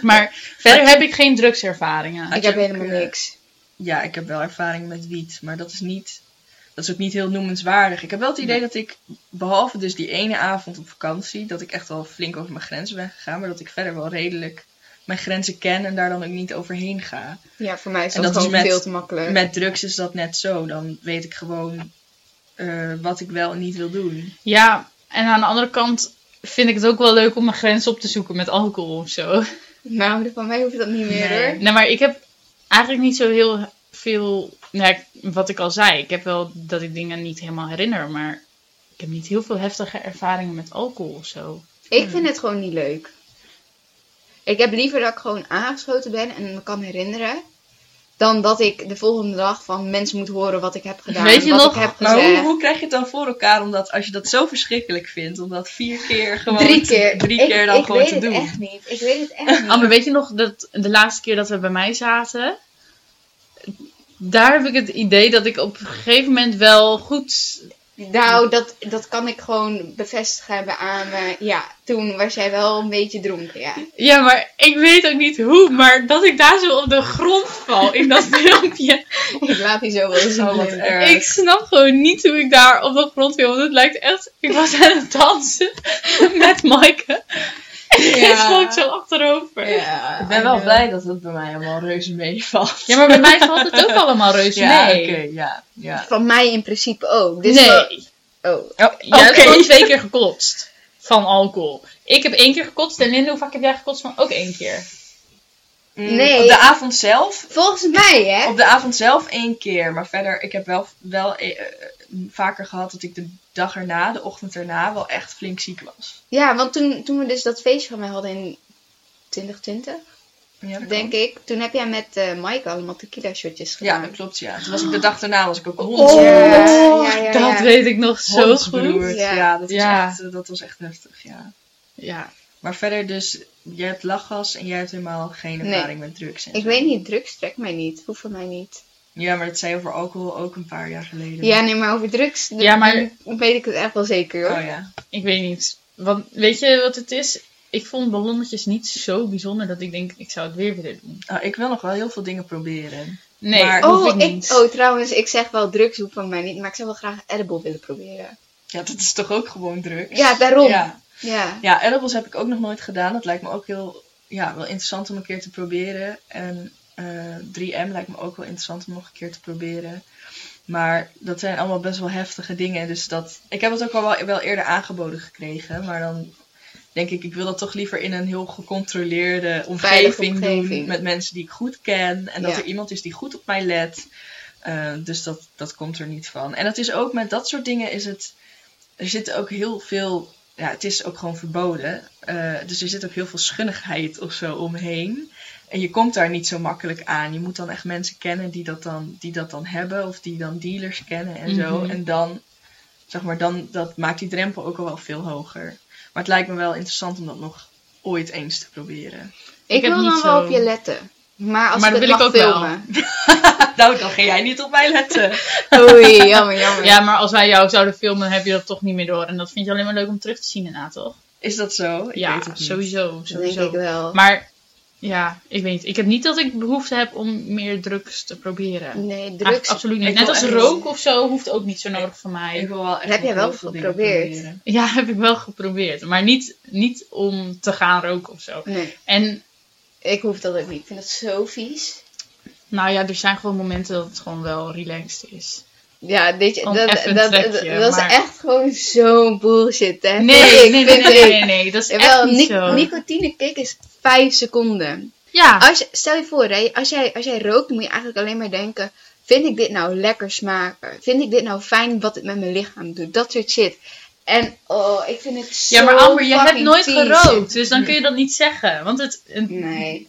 S3: Maar verder heb ik geen drugservaringen.
S2: Had
S1: ik
S2: je
S1: heb
S2: ook,
S1: helemaal
S2: eh,
S1: niks.
S2: Ja, ik heb wel ervaring met wiet, maar dat is niet. Dat is ook niet heel noemenswaardig. Ik heb wel het idee dat ik, behalve dus die ene avond op vakantie, dat ik echt wel flink over mijn grenzen ben gegaan, maar dat ik verder wel redelijk mijn grenzen ken en daar dan ook niet overheen ga.
S1: Ja, voor mij is
S2: en
S1: dat,
S2: dat is
S1: gewoon
S2: met-
S1: veel te makkelijk.
S2: Met drugs is dat net zo. Dan weet ik gewoon eh, wat ik wel en niet wil doen.
S3: Ja, en aan de andere kant vind ik het ook wel leuk om mijn grens op te zoeken met alcohol of zo. (laughs)
S1: Nou, van mij hoeft dat niet meer
S2: Nee.
S1: hoor.
S3: Nee, maar ik heb eigenlijk niet zo heel veel, nou, ik- wat ik al zei. Ik heb wel dat ik dingen niet helemaal herinner, maar ik heb niet heel veel heftige ervaringen met alcohol of zo.
S2: Hmm.
S1: Ik vind het gewoon niet leuk. Ik heb liever dat ik gewoon aangeschoten ben en me kan herinneren. Dan dat ik de volgende dag van mensen moet horen wat ik heb gedaan.
S3: Weet je
S1: wat
S3: nog-
S1: ik heb
S2: Maar hoe,
S1: gezegd.
S2: hoe krijg je het dan voor elkaar, omdat als je dat zo verschrikkelijk vindt, om dat vier keer gewoon
S1: drie
S2: te-
S1: keer.
S2: drie
S1: Ik-
S2: keer dan
S1: ik
S2: gewoon te
S1: weet
S2: doen?
S1: het echt niet. Ik weet het
S2: (laughs)
S1: echt niet.
S3: Amber, weet je nog dat de laatste keer dat we bij mij zaten? Daar heb ik het idee dat ik op een gegeven moment wel goed
S1: Nou, dat, dat kan ik gewoon bevestigen bij aan me. Ja, toen was jij wel een beetje dronken,
S2: (laughs)
S1: ja.
S3: Ja, maar ik weet ook niet hoe, maar dat ik daar zo op de grond val in (laughs) dat filmpje.
S1: Ik laat die zo wel eens
S2: Oh, wat
S1: doen. (laughs)
S2: erg.
S3: Ik snap gewoon niet hoe ik daar op de grond viel, want het lijkt echt... Ik was aan het dansen (laughs) met Maaike. En
S1: Ja.
S3: ik sloot zo achterover. Ja.
S1: Ja,
S2: Ik ben wel
S1: I know.
S2: blij dat het bij mij allemaal reuze meevalt.
S3: maar bij mij valt het ook allemaal reuze
S2: Ja,
S3: mee.
S2: oké, ja, ja.
S1: Van mij in principe ook. Dus
S3: nee,
S1: wel- oh.
S3: jij hebt
S2: oké.
S3: gewoon twee keer gekotst van alcohol. Ik heb één keer gekotst en Linda, hoe vaak heb jij gekotst? Maar ook één keer.
S2: Mm,
S1: Nee.
S2: Op de avond zelf.
S1: Volgens mij, hè?
S2: Op de avond zelf één keer. Maar verder, ik heb wel, wel eh, eh, vaker gehad dat ik de dag erna, de ochtend erna, wel echt flink ziek was.
S1: Ja, want toen, toen we dus dat feestje van mij hadden in 2020,
S2: Ja, dat
S1: denk ik. Toen heb jij met eh Mike allemaal tequila shotjes
S2: Ja,
S1: gedaan.
S2: dat klopt, ja. Toen was ik de dag daarna was ik ook hond.
S1: Oh, ja,
S3: Oh,
S1: ja, ja,
S3: dat
S1: ja.
S3: weet ik nog zo goed.
S2: hondsberoerd.
S1: Ja.
S2: Ja, dat, was
S3: Ja.
S2: Echt, eh, dat was echt heftig, ja.
S3: Ja.
S2: Maar verder dus, jij hebt lachgas en jij hebt helemaal geen
S1: Nee.
S2: ervaring met drugs. en
S1: Ik
S2: zo.
S1: weet niet, drugs trekt mij niet. Hoeft voor mij niet.
S2: Ja, maar dat zei je over alcohol ook een paar jaar geleden.
S1: Ja, nee, maar over drugs d-
S3: Ja, maar-
S1: weet ik het echt wel zeker, hoor.
S2: Oh ja.
S3: Ik weet niet. Want weet je wat het is? Ik vond ballonnetjes niet zo bijzonder dat ik denk, ik zou het weer willen doen.
S2: Nou, ik wil nog wel heel veel dingen proberen.
S3: Nee,
S2: Maar-
S3: dat hoef ik
S1: oh,
S3: niet.
S1: ik, oh, trouwens, ik zeg wel drugs hoeft van mij niet, maar ik zou wel graag edible willen proberen.
S2: Ja, dat is toch ook gewoon drugs?
S1: Ja, daarom. Ja.
S2: Ja. Ja, edibles heb ik ook nog nooit gedaan. Dat lijkt me ook heel, ja, wel interessant om een keer te proberen. En eh, 3M lijkt me ook wel interessant om nog een keer te proberen. Maar dat zijn allemaal best wel heftige dingen. Dus dat, ik heb het ook al wel, wel eerder aangeboden gekregen. Maar dan denk ik, ik wil dat toch liever in een heel gecontroleerde omgeving,
S1: Veilige omgeving.
S2: doen. Met mensen die ik goed ken. En dat
S1: Ja.
S2: er iemand is die goed op mij let. Eh, dus dat, dat komt er niet van. En het is ook met dat soort dingen is het... Er zitten ook heel veel ja, het is ook gewoon verboden. Eh, dus er zit ook heel veel schunnigheid of zo omheen. En je komt daar niet zo makkelijk aan. Je moet dan echt mensen kennen die dat dan, die dat dan hebben. Of die dan dealers kennen en zo.
S3: Mhm.
S2: En dan, zeg maar, dan, dat maakt die drempel ook al wel veel hoger. Maar het lijkt me wel interessant om dat nog ooit eens te proberen. (laughs)
S1: Ik,
S3: Ik heb
S1: wil
S3: niet
S1: dan wel
S3: zo-
S1: op je letten. Maar als
S3: Maar
S1: ik
S3: dat
S1: het
S3: wil
S1: mag
S3: ik ook wel.
S1: filmen.
S3: (laughs)
S2: Nou, dan ga jij niet op mij letten.
S1: Oei, jammer, jammer.
S3: Oh, Ja, maar als wij jou zouden filmen, dan heb je dat toch niet meer door. En dat vind je alleen maar leuk om terug te zien daarna, toch?
S2: Is dat zo? Ik
S3: ja,
S2: weet het niet.
S3: sowieso.
S1: dat denk
S3: sowieso.
S1: ik wel.
S3: Maar ja, ik weet niet. Ik heb niet dat ik behoefte heb om meer drugs te proberen.
S1: nee,
S3: Eigenlijk
S1: drugs.
S3: absoluut
S2: Ik
S3: niet. Net
S2: wil
S3: als
S2: echt-
S3: rook of zo hoeft ook niet zo nodig voor
S2: Ik
S3: mij.
S2: wil wel echt
S1: Heb jij
S2: nog
S1: wel
S2: heel veel dingen
S1: geprobeerd?
S2: proberen.
S3: Ja, heb ik wel geprobeerd. Maar niet, niet om te gaan roken of zo.
S1: Nee,
S3: En
S1: ik hoef dat ook niet. Ik vind dat zo vies.
S3: nou ja, er zijn gewoon momenten dat het gewoon wel relaxed is.
S1: Ja, dit,
S3: Om
S1: dat, dat,
S3: even een
S1: dat,
S3: trekje,
S1: dat
S3: maar-
S1: is echt gewoon zo'n bullshit, hè?
S3: Nee, nee,
S1: Vind ik,
S3: nee, nee,
S1: vind
S3: nee,
S1: ik.
S3: nee, nee, Dat is echt
S1: Jawel,
S3: niet
S1: nic-
S3: zo.
S1: nicotinekick is 5 seconden.
S3: Ja,
S1: Als, je- stel je voor, hè, als, jij, als jij rookt, moet je eigenlijk alleen maar denken: vind ik dit nou lekker smaken? Vind ik dit nou fijn wat het met mijn lichaam doet? Dat soort shit. En oh, ik vind het zo.
S3: ja maar Amber, je hebt
S1: fucking
S3: nooit
S1: vies.
S3: gerookt. Dus dan kun je dat niet zeggen. Want het... een-
S1: Nee,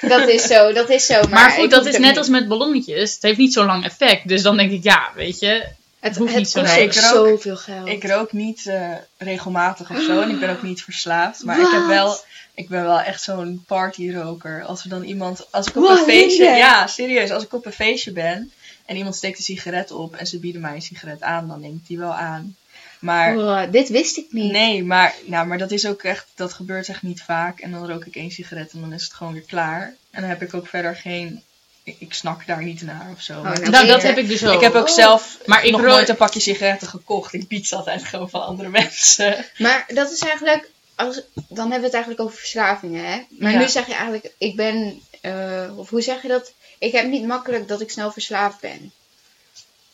S1: dat is zo, dat is zo. Maar,
S3: Maar
S1: ik
S3: goed, dat
S1: hoef
S3: is
S1: het
S3: net
S1: niet.
S3: als met ballonnetjes. Het heeft niet zo'n lang effect. Dus dan denk ik, ja, weet je.
S1: Het,
S3: hoeft
S1: het
S3: niet zo
S1: kost
S3: Nee,
S1: ook
S2: ik rook-
S1: zoveel geld.
S2: Ik rook niet eh, regelmatig of zo en ik ben ook niet verslaafd. Maar ik, heb wel,
S1: Wat?
S2: ik ben wel echt zo'n partyroker. Als er dan iemand, als ik op
S1: Wow,
S2: een feestje,
S1: Linda.
S2: ja serieus, als ik op een feestje ben en iemand steekt een sigaret op en ze bieden mij een sigaret aan, dan neem ik die wel aan. Maar
S1: Wow, Oh, dit wist ik niet.
S2: nee, maar, nou, maar dat is ook echt, dat gebeurt echt niet vaak. En dan rook ik één sigaret en dan is het gewoon weer klaar. En dan heb ik ook verder geen, ik, ik snak daar niet naar of zo.
S1: Oh,
S2: Maar
S1: nou,
S3: Nou, dat
S1: beter.
S3: heb ik dus ook.
S2: Ik heb ook
S1: Oh.
S2: zelf
S3: Maar ik
S2: nog
S3: rook-
S2: nooit een pakje sigaretten gekocht. Ik bied ze altijd gewoon van andere (laughs) mensen.
S1: Maar dat is eigenlijk, als, dan hebben we het eigenlijk over verslavingen, hè? Maar
S2: Ja.
S1: nu zeg je eigenlijk, ik ben, eh, of hoe zeg je dat? Ik heb niet makkelijk dat ik snel verslaafd ben.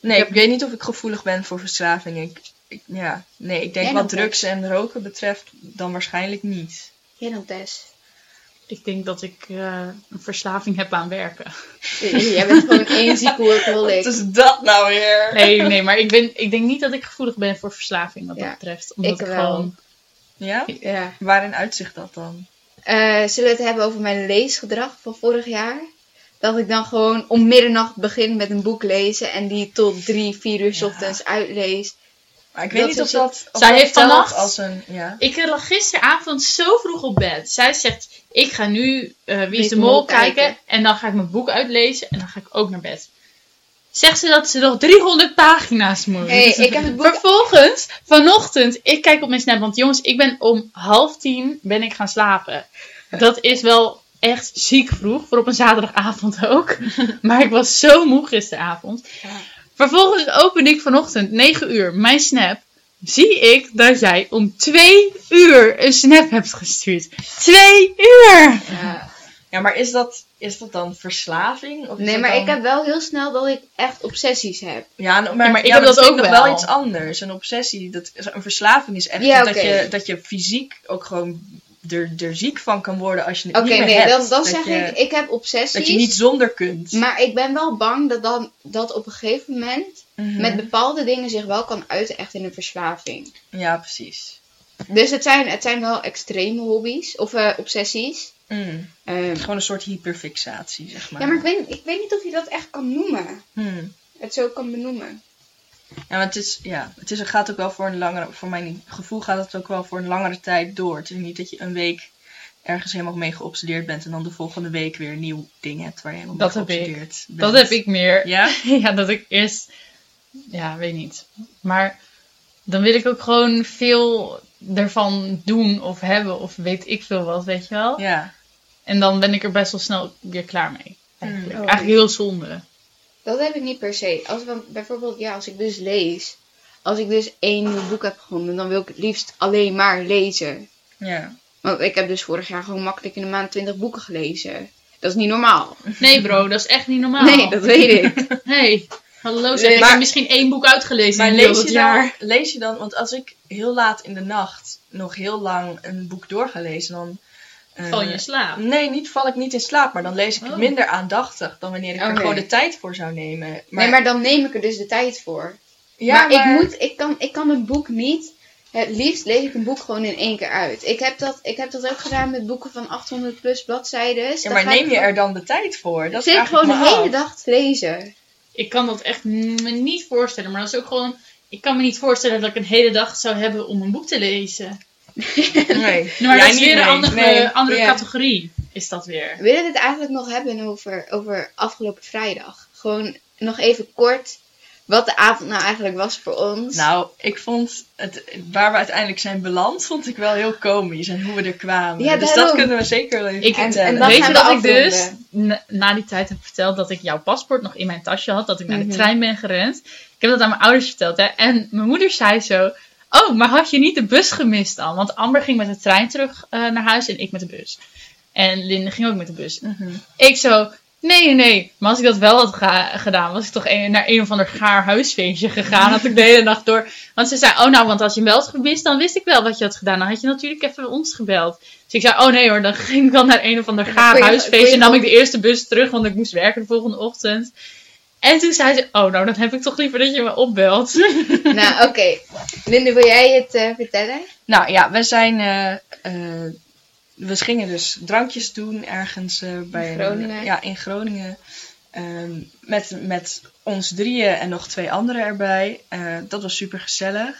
S2: Nee, ik weet niet of ik gevoelig ben voor verslaving. Ik, ik- ja, nee, ik denk
S1: Jij
S2: wat
S1: nog wel?
S2: drugs en roken betreft dan waarschijnlijk niet.
S1: Jij dan, Tess?
S3: Ik denk dat ik eh, een verslaving heb aan werken.
S1: Eh, Jij bent gewoon één zieke
S2: Wat
S1: workaholic.
S2: is dat nou weer?
S3: Nee, nee, maar ik, ben, ik denk niet dat ik gevoelig ben voor verslaving wat
S1: Ja,
S3: dat betreft. Omdat ik,
S1: ik wel.
S3: gewoon...
S2: Ja?
S1: Ja.
S2: Waarin uitzicht dat dan?
S1: Eh, zullen we het hebben over mijn leesgedrag van vorig jaar? Dat ik dan gewoon om middernacht begin met een boek lezen en die tot drie, vier uur 's
S2: Ja.
S1: ochtends uitlees.
S2: Maar ik
S1: Dat
S2: weet niet of
S1: is
S2: dat. Of
S3: Zij
S2: dat
S3: heeft
S2: telt
S3: vannacht-
S2: als een. Ja.
S3: Ik eh, lag gisteravond zo vroeg op bed. Zij zegt, ik ga nu eh, Wie is de
S1: de
S3: Mol
S1: Mol
S3: kijken.
S1: kijken.
S3: En dan ga ik mijn boek uitlezen. En dan ga ik ook naar bed. zegt ze dat ze nog 300 pagina's moet.
S1: Hey, ik heb het boek-
S3: Vervolgens, vanochtend, ik kijk op mijn snap, want jongens, ik ben om half tien ben ik gaan slapen. Dat is wel echt ziek vroeg, voor op een zaterdagavond (laughs) ook. Maar ik was zo moe gisteravond.
S1: Ja.
S3: Vervolgens open ik vanochtend, 9 uur, mijn snap. Zie ik dat jij om twee uur een snap hebt gestuurd. Twee uur!
S1: Ja.
S2: Ja, maar is dat, is dat dan verslaving? Of is
S1: Nee,
S2: dat
S1: maar
S2: dan-
S1: ik heb wel heel snel dat ik echt obsessies heb.
S2: Ja, nou, maar,
S3: Ja, maar ik heb
S2: dat,
S3: dat
S2: vind
S3: ook
S2: nog
S3: wel.
S2: wel iets anders. Een obsessie, dat, is- een verslaving is echt
S1: Ja,
S2: dat,
S1: oké.
S2: je, dat je fysiek ook gewoon er, er ziek van kan worden als je het
S1: Oké,
S2: niet meer
S1: nee,
S2: hebt.
S1: dan, dan
S2: Dat
S1: zeg
S2: je-
S1: ik, ik heb obsessies.
S2: Dat je niet zonder kunt.
S1: Maar ik ben wel bang dat, dan, dat op een gegeven moment
S2: Mhm.
S1: met bepaalde dingen zich wel kan uiten echt in een verslaving.
S2: Ja, precies.
S1: Dus het zijn, het zijn wel extreme hobby's of eh, obsessies.
S2: Mm.
S1: Ehm,
S2: Gewoon een soort hyperfixatie, zeg maar.
S1: ja, maar ik weet, ik weet niet of je dat echt kan noemen.
S2: Mm.
S1: Het zo kan benoemen.
S2: Ja, maar het, is, ja, het is, het gaat ook wel voor een langere... Voor mijn gevoel gaat het ook wel voor een langere tijd door. Het is niet dat je een week ergens helemaal mee geobsedeerd bent... en dan de volgende week weer een nieuw ding hebt waar je helemaal
S3: Dat
S2: mee
S3: heb ik.
S2: geobsedeerd bent.
S3: Dat heb ik meer.
S2: Ja?
S3: (laughs) ja, dat ik eerst. Ja, weet niet. Maar dan wil ik ook gewoon veel ervan doen of hebben of weet ik veel wat, weet je wel.
S2: Ja.
S3: En dan ben ik er best wel snel weer klaar mee. Eigenlijk,
S1: Mm. Oh.
S3: eigenlijk heel zonde.
S1: Dat heb ik niet per se. Als, want bijvoorbeeld, ja, als ik dus lees. Als ik dus één nieuw boek heb gevonden, dan wil ik het liefst alleen maar lezen.
S2: Ja.
S1: Want ik heb dus vorig jaar gewoon makkelijk in een maand 20 boeken gelezen. Dat is niet normaal.
S3: Nee bro, dat is echt niet normaal.
S1: Nee, dat weet ik.
S3: Hey, hallo zeg,
S2: Nee,
S3: ik
S2: maar-
S3: heb misschien één boek uitgelezen
S2: Maar
S3: Dus in heel
S2: lees je,
S3: dat
S2: dan,
S3: jaar.
S2: lees je dan, want als ik heel laat in de nacht nog heel lang een boek door ga lezen, dan. eh,
S3: Val je in slaap.
S2: Nee, niet val ik niet in slaap, maar dan lees ik het
S3: Oh.
S2: minder aandachtig dan wanneer ik er
S1: Oké.
S2: gewoon de tijd voor zou nemen.
S1: Nee, maar dan neem ik er dus de tijd voor.
S2: ja,
S1: maar,
S2: maar-
S1: ik moet, ik kan, ik kan een boek niet. Het liefst lees ik een boek gewoon in één keer uit. Ik heb dat, ik heb dat ook gedaan met boeken van 800 plus bladzijden.
S2: Ja, maar neem je er dan de tijd voor?
S1: Dat
S2: Dat
S1: zit ik
S2: vraag
S1: gewoon
S2: me
S1: de hele
S2: af.
S1: dag te lezen.
S3: Ik kan dat echt me niet voorstellen. Maar dat is ook gewoon... Ik kan me niet voorstellen dat ik een hele dag zou hebben om een boek te lezen.
S2: Nee,
S3: Maar
S2: Jij
S3: dat is
S2: niet,
S3: weer een
S2: nee.
S3: andere,
S2: Nee.
S3: andere
S1: Ja.
S3: categorie, is dat weer.
S1: We willen het eigenlijk nog hebben over, over afgelopen vrijdag. Gewoon nog even kort wat de avond nou eigenlijk was voor ons.
S2: Nou, ik vond het, waar we uiteindelijk zijn beland, vond ik wel heel komisch en hoe we er kwamen.
S1: Ja,
S2: dus dat
S1: daarom.
S2: kunnen we zeker wel even
S3: Ik,
S1: En-
S2: vertellen.
S1: en dan
S3: weet
S1: gaan
S3: je
S1: we
S3: dat ik
S1: afronden.
S3: dus na, na die tijd heb verteld dat ik jouw paspoort nog in mijn tasje had, dat ik naar
S1: Mhm.
S3: de trein ben gerend. Ik heb dat aan mijn ouders verteld hè, en mijn moeder zei zo, oh, maar had je niet de bus gemist dan? Want Amber ging met de trein terug eh, naar huis en ik met de bus. En Linde ging ook met de bus.
S2: Mhm.
S3: Ik zo, nee, nee, nee. Maar als ik dat wel had ga- gedaan, was ik toch een- naar een of ander gaar huisfeestje gegaan. Had ik de hele nacht door. Want ze zei, oh nou, want als je hem wel had gemist, dan wist ik wel wat je had gedaan. Dan had je natuurlijk even ons gebeld. Dus ik zei, oh nee hoor, dan ging ik wel naar een of ander gaar
S1: Kon je- kon
S3: huisfeestje.
S1: je
S3: En nam
S1: nog-
S3: ik de eerste bus terug, want ik moest werken de volgende ochtend. En toen zei ze, oh nou, dan heb ik toch liever dat je me
S2: (laughs)
S3: opbelt.
S1: (laughs) Nou, oké. Linde, wil jij het eh, vertellen?
S2: Nou ja, we zijn. eh, eh, we gingen dus drankjes doen ergens eh, bij een-
S1: Groningen.
S2: ja, in Groningen. Ehm, met, met ons drieën en nog twee anderen erbij. Eh, dat was super gezellig.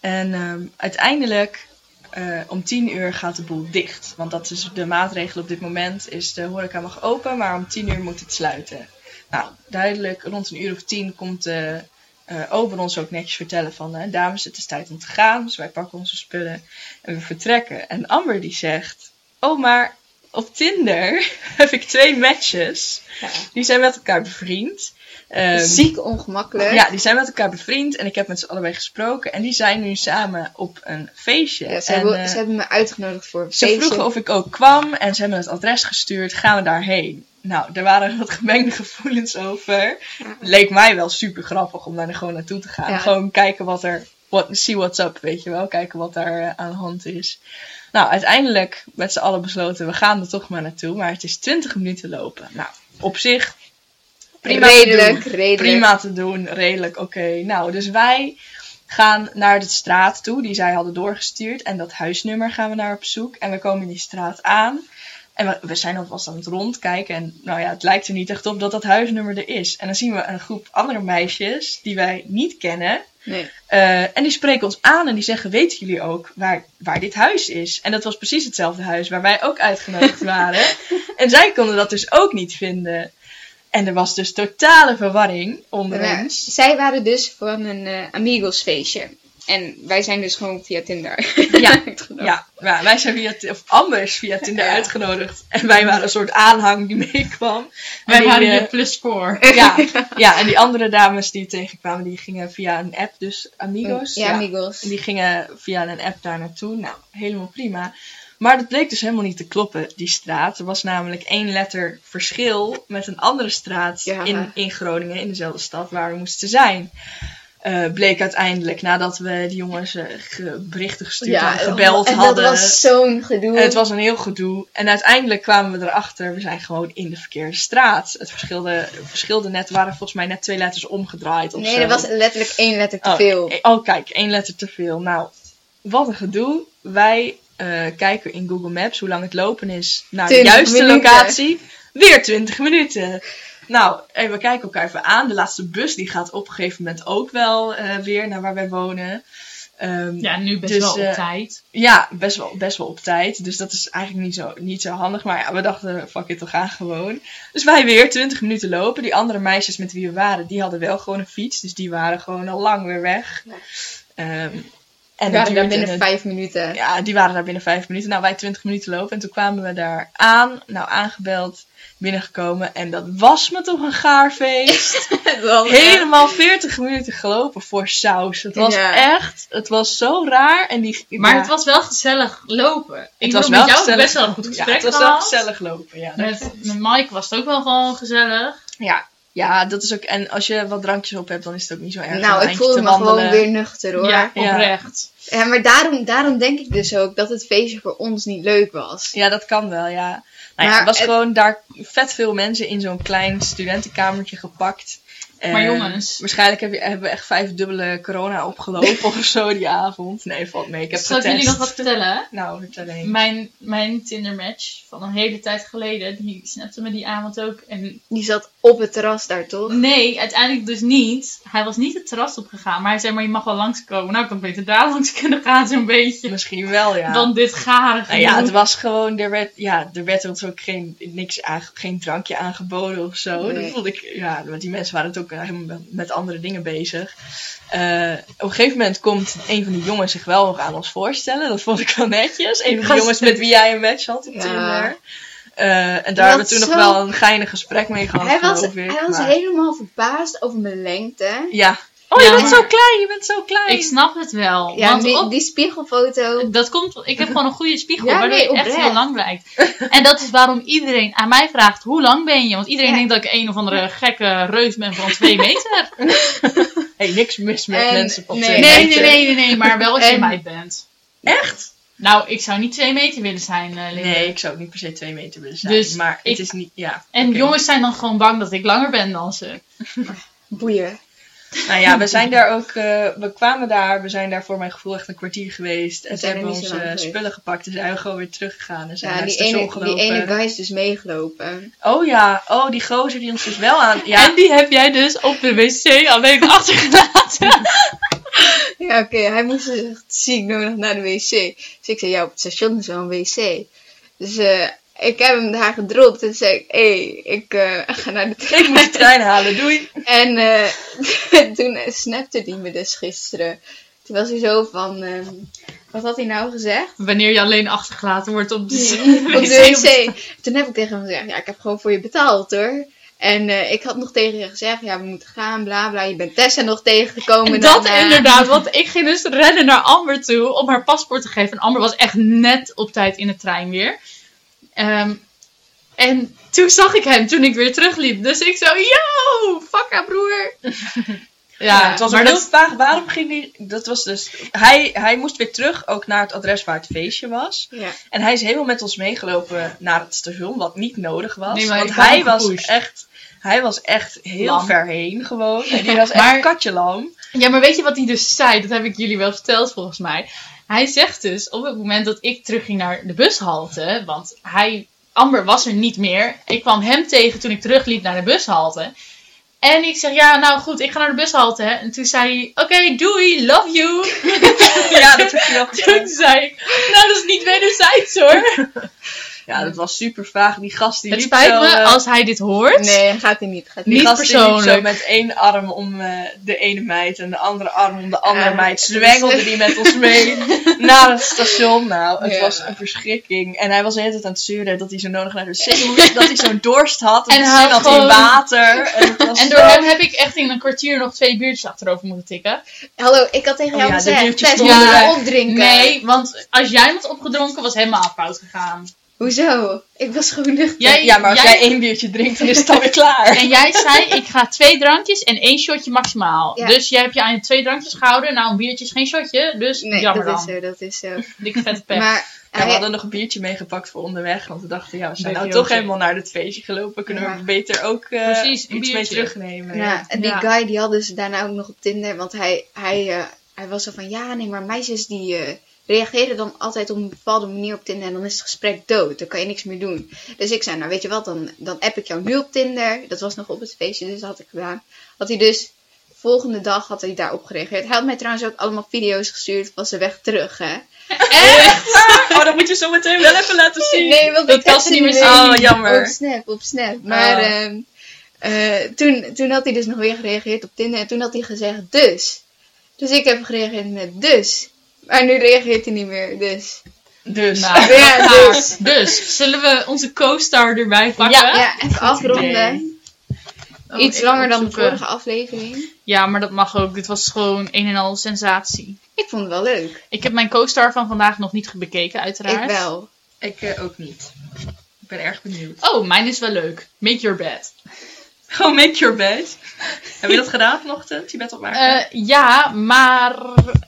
S2: En ehm, uiteindelijk eh, om tien uur gaat de boel dicht. Want dat is de maatregel op dit moment. Is de horeca mag open, maar om tien uur moet het sluiten. Nou, duidelijk, rond een uur of tien komt de eh Oberon ons ook netjes vertellen van... eh, dames, het is tijd om te gaan. Dus wij pakken onze spullen en we vertrekken. En Amber die zegt... Oh, maar op Tinder (laughs) heb ik twee matches.
S1: Ja.
S2: Die zijn met elkaar bevriend. Ehm,
S1: Ziek ongemakkelijk.
S2: ja, die zijn met elkaar bevriend. En ik heb met ze allebei gesproken. En die zijn nu samen op een feestje.
S1: Ja, ze,
S2: en,
S1: hebben,
S2: eh,
S1: ze hebben me uitgenodigd voor een
S2: ze
S1: feestje.
S2: vroegen of ik ook kwam en ze hebben het adres gestuurd. Gaan we daarheen? Nou, daar waren wat gemengde gevoelens over. Leek mij wel super grappig om daar gewoon naartoe te gaan.
S1: Ja.
S2: Gewoon kijken wat er, what, see what's up, weet je wel. Kijken wat daar eh, aan de hand is. Nou, uiteindelijk met z'n allen besloten, we gaan er toch maar naartoe. Maar het is 20 minuten lopen. Nou, op zich prima te
S1: redelijk,
S2: doen.
S1: redelijk.
S2: Prima te doen, redelijk, oké. Nou, dus wij gaan naar de straat toe die zij hadden doorgestuurd. En dat huisnummer gaan we naar op zoek. En we komen in die straat aan. En we, we zijn alvast aan het rondkijken. En nou ja, het lijkt er niet echt op dat dat huisnummer er is. En dan zien we een groep andere meisjes die wij niet kennen.
S1: Nee.
S2: Eh, en die spreken ons aan en die zeggen: Weten jullie ook waar, waar dit huis is? En dat was precies hetzelfde huis waar wij ook uitgenodigd waren. En zij konden dat dus ook niet vinden. En er was dus totale verwarring onder
S1: Nou, (laughs)
S2: ons.
S1: zij waren dus van een eh, Amigos feestje. En wij zijn dus gewoon via Tinder.
S2: Ja,
S1: uitgenodigd.
S2: ja, maar wij zijn via, Ti- of Amber is via Tinder
S1: Ja.
S2: uitgenodigd. En wij waren een soort aanhang die (laughs) meekwam.
S3: Wij
S2: En die,
S3: waren
S2: eh,
S3: je plus score.
S2: ja, ja, en die andere dames die tegenkwamen, die gingen via een app, dus Amigos.
S1: Ja, Amigos.
S2: En die gingen via een app daar naartoe. Nou, helemaal prima. Maar dat bleek dus helemaal niet te kloppen, die straat. Er was namelijk één letter verschil met een andere straat
S1: Ja.
S2: in, in Groningen, in dezelfde stad waar we moesten zijn. Eh, bleek uiteindelijk, nadat we die jongens eh, ge- berichten gestuurd hadden, gebeld
S1: en
S2: hadden.
S1: dat was zo'n gedoe.
S2: En het was een heel gedoe. En uiteindelijk kwamen we erachter, we zijn gewoon in de verkeerde straat. Het verschilde, het verschilde net, waren volgens mij net twee letters omgedraaid of
S1: nee,
S2: zo.
S1: er was letterlijk één letter te
S2: Oh,
S1: veel.
S2: eh, Oh, kijk, één letter te veel. Nou, wat een gedoe. Wij eh, kijken in Google Maps hoe lang het lopen is naar de
S1: 20
S2: juiste
S1: minuten.
S2: locatie. Weer 20 minuten. Nou, en we kijken elkaar even aan. De laatste bus die gaat op een gegeven moment ook wel eh, weer naar waar wij wonen. Ehm,
S3: Ja, nu best
S2: Dus,
S3: wel op
S2: eh,
S3: tijd.
S2: ja, best wel, best wel op tijd. Dus dat is eigenlijk niet zo, niet zo handig. Maar ja, we dachten, fuck it, we gaan gewoon. Dus wij weer 20 minuten lopen. Die andere meisjes met wie we waren, die hadden wel gewoon een fiets. Dus die waren gewoon al lang weer weg.
S1: Ja.
S2: Ehm,
S1: We
S2: en dat
S1: waren daar
S2: duurde
S1: binnen
S2: het-
S1: vijf minuten.
S2: Ja, die waren daar binnen vijf minuten. Nou, wij 20 minuten lopen. En toen kwamen we daar aan. Nou, aangebeld, binnengekomen. En dat was me toch een gaar feest.
S1: Het was echt-
S2: Helemaal 40 minuten gelopen voor saus. Het was
S1: Ja.
S2: echt, het was zo raar. En die,
S3: Maar
S2: ja.
S3: het was wel gezellig lopen. Ik
S2: Het
S3: bedoel,
S2: was
S3: met
S2: wel
S3: jou
S2: gezellig.
S3: best wel een goed gesprek
S2: Ja, het was wel
S3: gehad.
S2: gezellig lopen, ja.
S3: Met, met Mike was het ook wel gewoon gezellig.
S2: ja. Ja, dat is ook... En als je wat drankjes op hebt, dan is het ook niet zo erg. om een
S1: nou, ik
S2: eindje
S1: voelde
S2: te
S1: me
S2: wandelen.
S1: gewoon weer nuchter hoor.
S3: Ja,
S1: Ja.
S2: Ja.
S3: oprecht.
S1: maar daarom, daarom denk ik dus ook dat het feestje voor ons niet leuk was.
S2: Ja, dat kan wel, ja. Nou ja,
S1: Maar
S2: het was
S1: het-
S2: gewoon daar vet veel mensen in zo'n klein studentenkamertje gepakt.
S3: Maar
S2: En
S3: jongens.
S2: Waarschijnlijk heb je, hebben we echt vijf dubbele
S3: (laughs)
S2: corona opgelopen of zo die avond. Nee, valt mee. Ik heb
S3: Zal ik
S2: getest.
S3: jullie nog wat vertellen?
S2: Nou, het alleen.
S3: Mijn, mijn Tinder match van een hele tijd geleden, die snapte me die avond ook. En
S1: Die zat op het terras daar toch?
S3: nee, uiteindelijk dus niet. Hij was niet het terras opgegaan, maar hij zei maar je mag wel langskomen. Nou, ik had beter daar (laughs) langs kunnen gaan zo'n beetje.
S2: Misschien wel, ja.
S3: Dan dit garige.
S2: Nou ja, het
S3: gedoe.
S2: was gewoon, er werd, ja, er werd ons ook geen, niks aange- geen drankje aangeboden of zo.
S1: Nee.
S2: Dat vond ik, ja, want die mensen waren het ook eh, helemaal met andere dingen bezig. Eh, op een gegeven moment komt een van die jongens zich wel nog aan ons voorstellen. Dat vond ik wel netjes. Een van die
S3: Gast.
S2: jongens met wie jij een match had op
S1: Ja.
S2: Tinder. Eh, en
S1: Die
S2: daar hebben we
S1: had
S2: toen nog
S1: zo-
S2: wel een geinig gesprek mee gehad,
S1: Hij was,
S2: geloof ik.
S1: hij was
S2: maar-
S1: helemaal verbaasd over mijn lengte.
S2: Ja. Oh, je
S3: Ja,
S2: bent
S3: maar-
S2: zo klein, je bent zo klein.
S3: Ik snap het wel.
S1: Ja,
S3: want
S1: die,
S3: op
S1: die spiegelfoto.
S3: Dat komt, ik heb gewoon een goede spiegel
S1: Ja,
S3: waardoor
S1: nee,
S3: je echt
S1: oprecht.
S3: heel lang lijkt. En dat is waarom iedereen aan mij vraagt, hoe lang ben je? Want iedereen
S1: Ja.
S3: denkt dat ik een of andere gekke reus ben van twee meter.
S2: hey, niks mis met
S1: En-
S2: mensen op
S1: nee.
S2: twee
S3: Nee, nee,
S2: meter.
S3: nee, nee, nee, maar wel als je
S1: En-
S3: mij bent.
S2: Echt?
S3: Nou, ik zou niet twee meter willen zijn, eh, Linde.
S2: Nee, ik zou ook niet per se twee meter willen zijn.
S3: Dus
S2: maar
S3: ik-
S2: het is niet, ja.
S3: En
S2: oké.
S3: jongens zijn dan gewoon bang dat ik langer ben dan ze.
S1: Boeien.
S2: Nou ja, we zijn daar ook, eh, we kwamen daar, we zijn daar voor mijn gevoel echt een kwartier geweest. En
S1: We
S2: ze
S1: zijn er
S2: hebben
S1: niet zo
S2: onze
S1: lang geweest.
S2: spullen gepakt en zijn we gewoon weer teruggegaan. En zijn
S1: Ja,
S2: naar het
S1: die
S2: station
S1: ene, die
S2: gelopen.
S1: ene guy is dus meegelopen.
S2: Oh ja, oh die gozer die ons dus wel aan... Ja,
S3: En die heb jij dus op de wc alleen
S1: (laughs)
S3: achtergelaten.
S1: Ja, oké. Hij moest dus echt ziek nodig naar de wc. Dus ik zei, ja, op het station is wel een wc. Dus eh, ik heb hem daar gedropt en zei, ik, hé, ik eh, ga naar de trein.
S2: ik
S3: (laughs)
S2: moest de trein halen, doei.
S1: En eh, (laughs) toen snapte hij me dus gisteren. Toen was hij zo van, ehm, wat had hij nou gezegd?
S3: Wanneer je alleen achtergelaten wordt op de (laughs)
S1: Op de wc. Toen heb ik tegen hem gezegd, ja, ik heb gewoon voor je betaald hoor. En eh, ik had nog tegen je gezegd, ja, we moeten gaan, bla bla. Je bent Tessa nog tegengekomen. eh,
S3: Dat
S2: eh.
S1: daarna.
S3: inderdaad, want ik ging dus rennen naar Amber toe om haar paspoort te geven. En Amber was echt net op tijd in de trein weer. Ehm, en toen zag ik hem toen ik weer terugliep. Dus ik zo, yo, fuck haar
S2: (laughs)
S3: broer. Ja,
S2: het was
S3: maar
S2: maar heel
S3: dat,
S2: vaag, waarom ging die... Dat was dus... Hij, hij moest weer terug, ook naar het adres waar het feestje was.
S1: Ja.
S2: En hij is helemaal met ons meegelopen naar het station, wat niet nodig was.
S3: Nee, maar
S2: want
S3: ik had
S2: hij
S3: hem
S2: was
S3: gepusht.
S2: echt... Hij was echt heel
S3: Lam.
S2: ver heen gewoon. En
S3: (laughs)
S2: die was echt
S3: Maar- (laughs)
S2: katje lam.
S3: ja, maar weet je wat hij dus zei? Dat heb ik jullie wel verteld volgens mij. Hij zegt dus, op het moment dat ik terugging naar de bushalte, want hij, Amber was er niet meer. Ik kwam hem tegen toen ik terugliep naar de bushalte. En ik zeg, ja, nou goed, ik ga naar de bushalte. hè. En toen zei hij, oké, doei, love you. (laughs)
S2: Ja, dat heb je wel gezien.
S3: Toen zei ik, nou dat is niet wederzijds hoor.
S2: Ja, dat was super vaag. Die gast die
S3: Het
S2: liep
S3: spijt
S2: zo,
S3: me
S2: eh,
S3: als hij dit hoort.
S1: Nee, gaat hij niet. Gaat hij
S2: die
S3: niet
S2: gast die liep
S3: persoonlijk.
S2: zo met één arm om eh, de ene meid en de andere arm om de andere
S1: Eh,
S2: meid.
S1: het is
S2: Zwengelde
S1: echt-
S2: die met ons
S3: (laughs)
S2: mee naar het station. Nou, het
S1: Ja.
S2: was een verschrikking. En hij was de hele tijd aan het zeuren dat hij zo nodig naar de
S3: (laughs)
S2: wc moest. dat hij zo'n dorst had. En
S3: En
S2: zin
S3: hij
S2: had in
S3: gewoon-
S2: water. En, het was
S3: (laughs) En door
S2: zo-
S3: hem heb ik echt in een kwartier nog twee biertjes achterover moeten tikken.
S1: Hallo, ik had tegen
S2: Oh
S1: jou
S2: ja, de
S1: gezegd,
S2: biertjes
S1: Tess,
S3: stonden
S1: moeten
S3: er.
S1: we opdrinken.
S3: Nee, want als jij had opgedronken, was helemaal fout gegaan.
S1: Hoezo? Ik was gewoon nuchter.
S3: Jij-
S2: Eh, Ja, maar als jij één biertje drinkt, dan is het alweer klaar.
S3: En jij zei, ik ga twee drankjes en één shotje maximaal.
S1: Ja.
S3: Dus jij hebt je aan je twee drankjes gehouden. Nou, een biertje is geen shotje, dus
S1: Nee,
S3: jammer
S1: dat
S3: dan.
S1: is zo, dat is zo.
S3: Dikke vette pech.
S1: Maar
S2: Ja, we
S1: hij,
S2: hadden nog een biertje meegepakt voor onderweg. Want we dachten, ja, we zijn
S3: Leuk
S2: nou
S3: biertje.
S2: toch helemaal naar dit feestje gelopen. Kunnen
S1: Ja.
S2: we beter ook eh,
S3: Precies, een
S2: iets mee
S3: biertje.
S2: terugnemen.
S1: ja, en die
S3: Ja.
S1: guy die had dus daarna ook nog op Tinder, want hij, hij, eh, hij was zo van, ja, nee, maar meisjes die eh, reageren dan altijd op een bepaalde manier op Tinder en dan is het gesprek dood, dan kan je niks meer doen. Dus ik zei, nou weet je wat, dan, dan app ik jou nu op Tinder. Dat was nog op het feestje, dus dat had ik gedaan. Had hij dus, volgende dag had hij daarop gereageerd. Hij had mij trouwens ook allemaal video's gestuurd van zijn weg terug, hè.
S2: Oh, dat moet je zo meteen wel even laten zien.
S1: Nee, want
S3: Dat
S1: ik
S3: kan
S1: had
S3: ze
S1: ze
S3: niet
S1: niet meer
S3: meer
S1: zien.
S2: zien. Oh, jammer.
S1: Op Snap, op Snap. Maar
S2: Oh.
S1: ehm, eh, toen, toen had hij dus nog weer gereageerd op Tinder. En toen had hij gezegd dus. Dus ik heb gereageerd met dus. Maar nu reageert hij niet meer, dus.
S2: Dus.
S3: Nou,
S1: Ja, dus.
S3: Dus, zullen we onze co-star erbij pakken?
S2: Ja.
S1: Ja, even afronden.
S3: Oh,
S1: Iets
S3: ik
S1: langer dan de
S3: opzoeken.
S1: vorige aflevering.
S3: Ja, maar dat mag ook. Dit was gewoon een en al sensatie.
S1: Ik vond het wel leuk.
S3: Ik heb mijn co-star van vandaag nog niet bekeken, uiteraard.
S1: Ik wel. (laughs)
S2: Ik eh, ook niet. Ik ben erg benieuwd.
S3: Oh, mijn is wel leuk. Make your bed.
S2: Go make your bed. Heb je dat gedaan vanochtend, je bed opmaken?
S3: Eh, ja, maar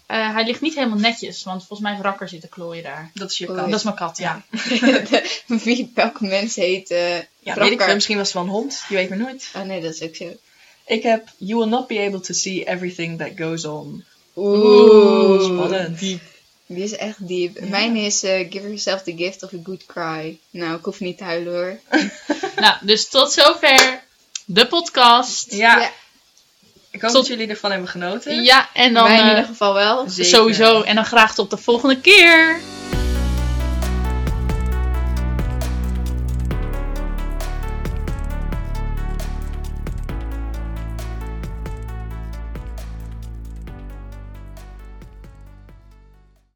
S3: eh, hij ligt niet helemaal netjes. Want volgens mij heeft Rakker zitten klooien daar.
S2: dat is je
S1: oh,
S2: kat.
S3: Dat is mijn kat, ja.
S1: Wie, welke mens heet... eh
S2: Ja,
S1: Rakker.
S2: weet ik veel. Misschien was het wel een hond. Je weet maar nooit.
S1: Oh nee, dat is ook zo.
S2: Ik heb You will not be able to see everything that goes on.
S1: Oeh.
S2: spannend.
S3: diep.
S1: Die is echt diep. Mijn is eh, Give Yourself the Gift of a Good Cry. Nou, ik hoef niet te huilen hoor.
S3: Nou, dus tot zover de podcast.
S2: Ja.
S1: Ja.
S2: Ik hoop
S3: Tot-
S2: dat jullie ervan hebben genoten.
S3: Ja, en dan
S1: Wij in
S3: eh,
S1: ieder geval wel.
S2: Zeker.
S3: sowieso. En dan graag tot de volgende keer.